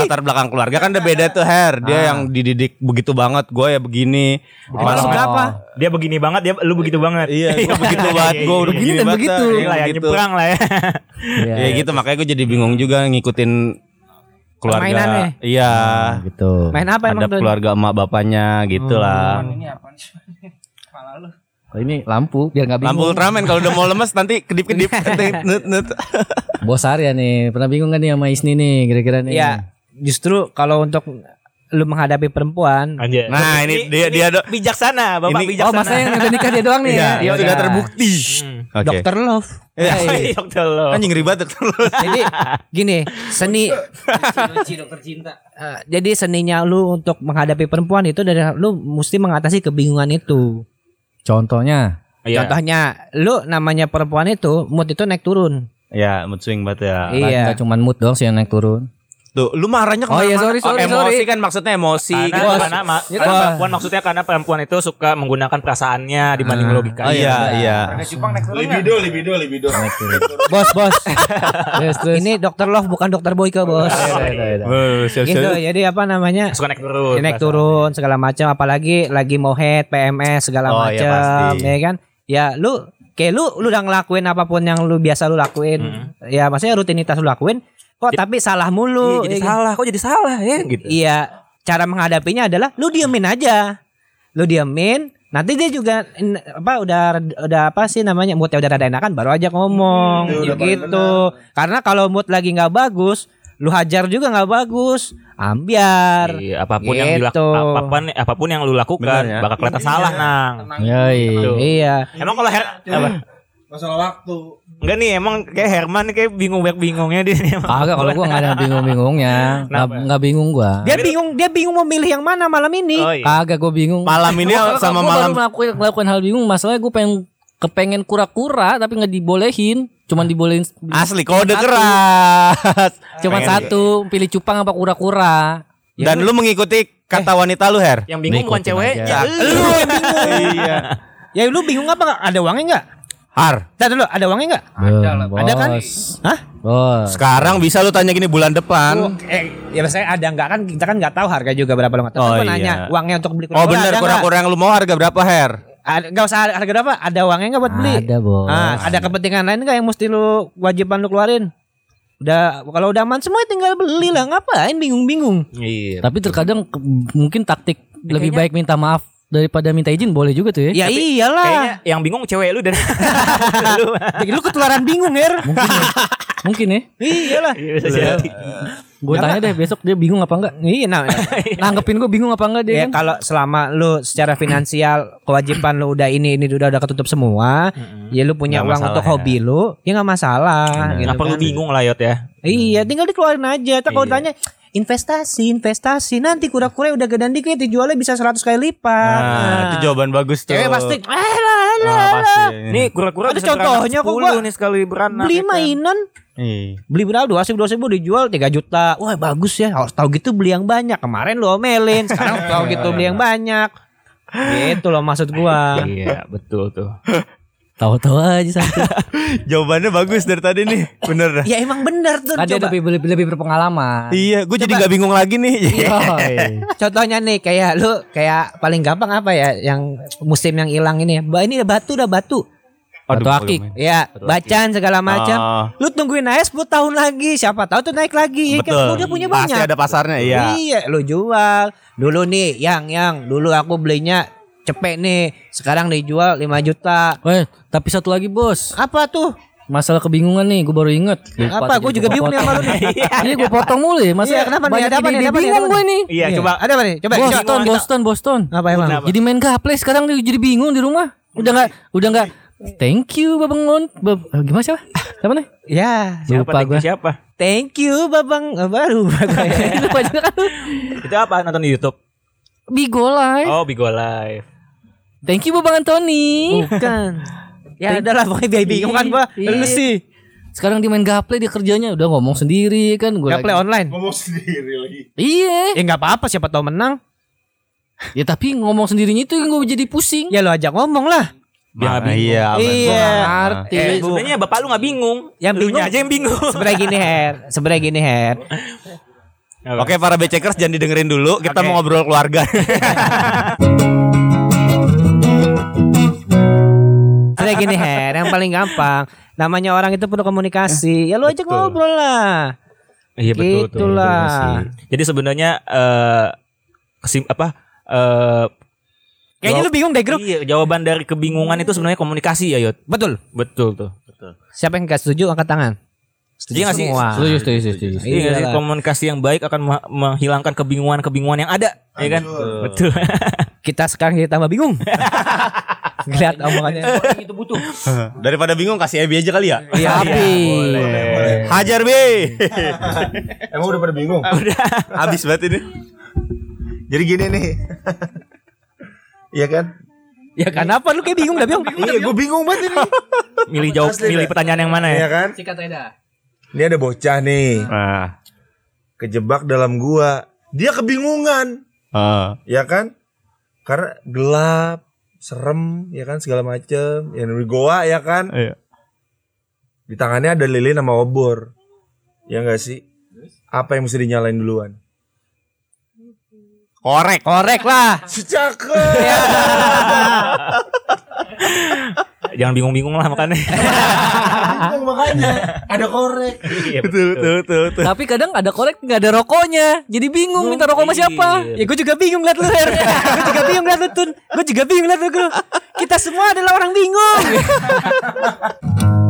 C: latar belakang keluarga kan udah beda tuh Her. Dia yang dididik begitu banget, gue ya begini. Malah-
B: Maksud apa?
A: Dia begini banget, dia lu begitu banget. [LAUGHS]
C: Iya, gue begitu banget, gue udah
D: Begini dan
C: banget, gitu.
D: begitu.
C: Ter.
A: iya. Gila ya,
C: Begitu.
A: nyebrang lah ya.
D: Iya,
C: Ya, gitu makanya gue jadi bingung juga ngikutin keluarga.
B: Permainannya.
C: Iya.
D: gitu.
B: Main apa
C: Ada
B: emang tuh?
C: keluarga emak bapaknya gitu lah.
G: Ini apa sih? Kepala lu.
D: Oh, ini lampu biar nggak
C: Lampu
D: bingung.
C: ultraman kalau udah mau lemes nanti kedip-kedip. nut, nut.
D: Bos Arya ya nih, pernah bingung kan nih sama Isni nih kira-kira nih.
C: Iya.
B: Ya, justru kalau untuk lu menghadapi perempuan,
A: Anjay.
C: Nah, ini dia dia do-
A: bijaksana, Bapak
C: Ini- Oh,
A: bijaksana.
D: [LAUGHS] Oh, masa yang udah nikah dia doang nih ya.
C: Iya,
D: Ya
C: sudah
D: udah.
C: terbukti.
A: Hmm.
C: Oke.
B: Dokter Love.
C: Eh,
A: Dokter lo.
C: Anjing ribet dokter lu.
B: Jadi gini, seni
G: dokter cinta.
B: eh, jadi seninya lu untuk menghadapi perempuan itu dari lu mesti mengatasi kebingungan itu.
D: Contohnya
A: Iya.
B: Contohnya lu namanya perempuan itu mood itu naik turun.
C: Ya, mood swing banget ya.
B: Iya.
D: Iya. Gak cuman mood doang sih yang naik turun.
C: Tuh, lu marahnya
D: Oh, iya, sorry, sorry,
C: emosi
D: sorry.
C: kan maksudnya emosi
A: Karena,
C: gitu.
A: karena, ma-
D: Iya,
A: karena
D: Bos.
A: perempuan maksudnya karena perempuan itu suka menggunakan perasaannya dibanding logika.
C: Oh iya, iya.
G: Ada cupang naik turun nggak?
E: Libido, libido, libido.
B: Bos, [LAUGHS] bos.
D: Terus terus.
B: Ini Dokter Love bukan Dokter Boyke,
C: Wuh,
B: bos.
C: siap,
B: Iya, gitu.
C: siap.
B: Jadi apa namanya?
A: Suka naik turun. perasaan.
B: naik turun segala macam apalagi lagi mau head PMS segala
C: Oh, iya,
B: macam
C: pasti.
B: ya kan ya lu kayak lu lu udah ngelakuin apapun yang lu biasa lu lakuin
A: Hmm.
B: ya maksudnya rutinitas lu lakuin kok tapi salah
A: Iya,
B: mulu
A: jadi
B: ya kan?
A: salah. Kok jadi salah ya gitu.
B: iya cara menghadapinya adalah lu diemin aja lu diemin nanti dia juga in- apa udah udah apa sih namanya moodnya udah rada enakan baru aja ngomong
E: Hmm, iya, udah paling
B: gitu karena kalau mood lagi nggak bagus lu hajar juga nggak bagus ambiar
A: Iya, apapun yang
B: Gitu.
A: dilakukan, apapun apapun yang lu lakukan
C: Bener ya.
A: bakal kelihatan salah, Nang.
E: Tenang.
D: Ya,
A: Tuh.
B: iya
A: Emang kalau Her apa?
E: Masalah waktu.
A: Enggak nih, emang kayak Herman nih kayak bingung banyak bingungnya dia. nih emang.
D: Kagak kalau gua nggak ada bingung-bingungnya. Nggak
A: Kenapa?
D: nggak bingung gua.
B: Dia bingung, dia bingung memilih yang mana malam ini.
A: Oh, iya.
D: Kagak gua bingung.
C: Malam ini
D: Gua- gua- gua
C: sama
D: baru
C: malam
D: ngelakuin, ngelakuin hal bingung masalahnya gue pengen kepengen kura-kura tapi nggak dibolehin cuman dibolehin
C: asli kode
D: Satu.
C: keras.
D: cuman
C: Pengen.
D: satu pilih cupang apa kura-kura
B: Ya
C: Dan lu mengikuti
B: Eh.
C: kata wanita lu, Her. Ya.
A: Yang bingung bukan
D: Ngikutin
A: ceweknya.
D: aja.
A: Lu.
C: iya.
B: Ya lu bingung apa nggak? Ada uangnya nggak?
C: Har,
B: Tidak dulu, ada uangnya nggak?
D: ada lah
B: Ada kan? Hah?
D: bos
C: sekarang bisa lu tanya gini bulan depan.
B: eh, ya saya ada nggak kan kita kan nggak tahu harga juga berapa lu nggak tahu.
C: Oh,
B: Kan gua
C: iya.
B: nanya uangnya untuk beli
C: Oh bener
B: ada nggak?
C: kurang-kurang lu mau harga berapa Her?
B: Ada- nggak usah harga berapa? Ada uangnya nggak buat beli?
D: ada bos
B: Ah, ada kepentingan lain nggak yang mesti lu wajiban lu keluarin? Udah kalau udah aman semua tinggal beli lah ngapain bingung-bingung.
A: Iya.
D: tapi terkadang ke- mungkin taktik lebih baik minta maaf daripada minta izin boleh juga tuh ya
B: Ya
A: Kayaknya
B: iyalah.
A: yang bingung cewek lu dan [LAUGHS] lu.
B: Jadi lu ketularan bingung, Her.
D: mungkin ya
B: [LAUGHS] iyalah.
A: Iya, bisa jadi.
D: gue tanya deh besok dia bingung apa enggak
B: Iya, nah, nah.
D: nanggepin gue bingung apa enggak dia
B: Ya
D: kan
B: kalau selama lu secara finansial kewajiban lu udah ini ini udah udah ketutup semua, ya lu punya
C: Nggak
B: uang
C: masalah
B: untuk
C: ya.
B: hobi lu, ya nggak masalah. gitu
A: Nggak perlu
B: kan.
A: bingung lah Yot ya.
B: Iya, tinggal dikeluarin aja. Tak kalau
A: Iya.
B: ditanya investasi, investasi nanti kura-kura udah gedean dikit dijualnya bisa 100 kali lipat.
C: Nah, itu jawaban bagus tuh.
B: Ah. Cewek pasti "Ah, lah, lah,
C: Ah,
B: lah."
C: pasti. Nih,
A: Nih kura-kura
B: Iya. Ada contohnya kok,
A: sepuluh
B: gua.
A: nih sekali beranak.
B: beli
A: ya kan.
B: mainan beli berapa dua ribu dijual 3 juta wah bagus ya harus tahu gitu beli yang banyak kemarin lu omelin sekarang tahu gitu beli yang banyak gitu loh maksud gua
A: Iya, betul tuh.
D: tahu-tahu aja satu
B: [LAUGHS]
C: jawabannya bagus dari tadi nih, bener dah.
B: ya emang bener tuh
D: kan dia
B: coba.
D: lebih lebih, lebih berpengalaman
C: Iya, gue jadi nggak bingung lagi nih.
B: Iya,
D: Yoi.
B: Contohnya nih kayak lu kayak paling gampang apa ya yang musim yang hilang ini ya. Ba ini udah batu udah batu.
C: Aduh,
D: Batu akik.
C: bagaimana?
B: Ya, bacaan segala macam.
C: Ah.
B: Lu tungguin aja 10 tahun lagi, siapa tahu tuh naik lagi. Ya kan?
C: Betul.
B: Udah punya
C: Pasti
B: banyak.
C: ada pasarnya, iya.
B: Iya, lu jual. Dulu nih yang yang dulu aku belinya cepet nih, sekarang dijual 5 juta.
D: Weh, tapi satu lagi bos,
B: Apa tuh?
D: masalah kebingungan nih, gue baru inget. Lupa
B: Apa?
D: tadi
B: Gua juga
D: gua
B: bingung nih
D: potong.
B: sama lu nih. [LAUGHS]
D: Ini gue potong mulu ya, masalah
B: Iya, kenapa nih?
D: banyak
B: Ada apa
D: ide- ide
B: nih? Ada apa nih?
D: bingung
B: Ada apa
D: gue nih.
A: Iya, coba
B: ada apa nih? Coba
D: Boston,
B: coba.
D: Boston, Boston.
B: Apa emang?
A: Kenapa?
D: Jadi main gaple sekarang dia jadi bingung di rumah. Udah nggak, udah nggak. Thank you, babangon. Bab- eh, gimana siapa? Siapa nih?
B: Ya,
A: Siapa
D: Lupa
A: thank you
D: gue.
A: siapa?
B: thank you Babang eh,
A: [LAUGHS]
B: baru.
D: Lupa juga kan.
A: Itu apa nonton di YouTube?
D: Bigolai.
B: Eh.
A: Oh, Bigo Live.
D: Thank you, babang
B: Oh.
D: Anthony.
B: Bukan. ya adalah pokoknya biar bingung kan gua.
D: Iya.
B: Lu sih.
D: Sekarang dia main gaple dia kerjanya udah ngomong sendiri kan gue.
B: Gak play online.
E: Ngomong sendiri lagi.
D: Iya.
B: oh. Ya nggak apa-apa siapa tahu menang.
D: Ya tapi ngomong sendirinya itu yang gue jadi pusing.
B: Ya lo ajak ngomong lah.
A: Dia nggak
C: Ah,
A: bingung.
C: iya, aman.
D: Arti.
A: Eh, sebenarnya bapak lu nggak bingung.
B: Iya, Yang
A: Lunya
B: bingung-
A: aja yang
B: [LAUGHS]
A: bingung. [LAUGHS]
B: Sebenarnya gini Her, sebenarnya gini Her.
C: Oke, para becekers jangan didengerin dulu. Kita
A: Oke.
C: mau ngobrol
B: [LAUGHS]
C: keluarga.
B: Sebenarnya gini Her, yang paling gampang. Namanya orang itu perlu komunikasi. Ya lo ajak ngobrol lah.
A: Iya betul tuh.
B: Gitulah.
A: Betul sih. Jadi sebenarnya eh kesim apa eh
B: Kayaknya lu bingung deh grup.
A: Iya, jawaban dari kebingungan itu sebenarnya komunikasi ya, Yot.
B: Betul.
A: Betul tuh. Betul.
B: Siapa yang gak setuju angkat tangan.
A: Setuju nggak sih?
B: Semua.
D: Setuju, setuju, setuju.
A: Iya nggak sih?
B: Iyalah.
A: komunikasi yang baik akan me- menghilangkan kebingungan-kebingungan yang ada, ya kan? Betul. [LAUGHS]
B: Kita sekarang jadi tambah bingung. Ngeliat omongannya.
G: Orang itu butuh.
C: Daripada bingung kasih Ebi aja kali ya.
B: Iya, Abi.
C: Hajar B.
E: Emang udah pada bingung?
C: Habis banget ini.
E: Jadi gini nih. [LAUGHS] Iya kan?
B: Ya kenapa lu kayak bingung dah, Biong?
E: Iya, gue bingung banget ini.
A: [LAUGHS] Milih jawab,
E: Asli,
A: milih
E: Bang.
A: pertanyaan yang mana ya?
E: Iya kan?
G: Sikat aja dah.
E: Ini ada bocah nih,
C: Ah.
E: kejebak dalam gua. Dia kebingungan,
C: Ah.
E: ya kan? Karena gelap, serem, ya kan segala macem. Yang di goa ya kan?
C: Iya.
E: Di tangannya ada lilin sama obor. Ya enggak sih? Apa yang mesti dinyalain duluan?
C: Korek.
B: Korek lah.
E: Secakep.
A: Jangan bingung-bingung lah makanya.
E: Bingung makanya ada korek.
A: Iya,
C: Betul betul betul. betul.
D: Tapi kadang ada korek nggak ada rokoknya. Jadi bingung minta rokok sama siapa.
B: Ya gue juga bingung liat lu Her [LAUGHS] Gue juga bingung liat lu Tun Gue juga bingung liat lu Gru. Kita semua adalah orang bingung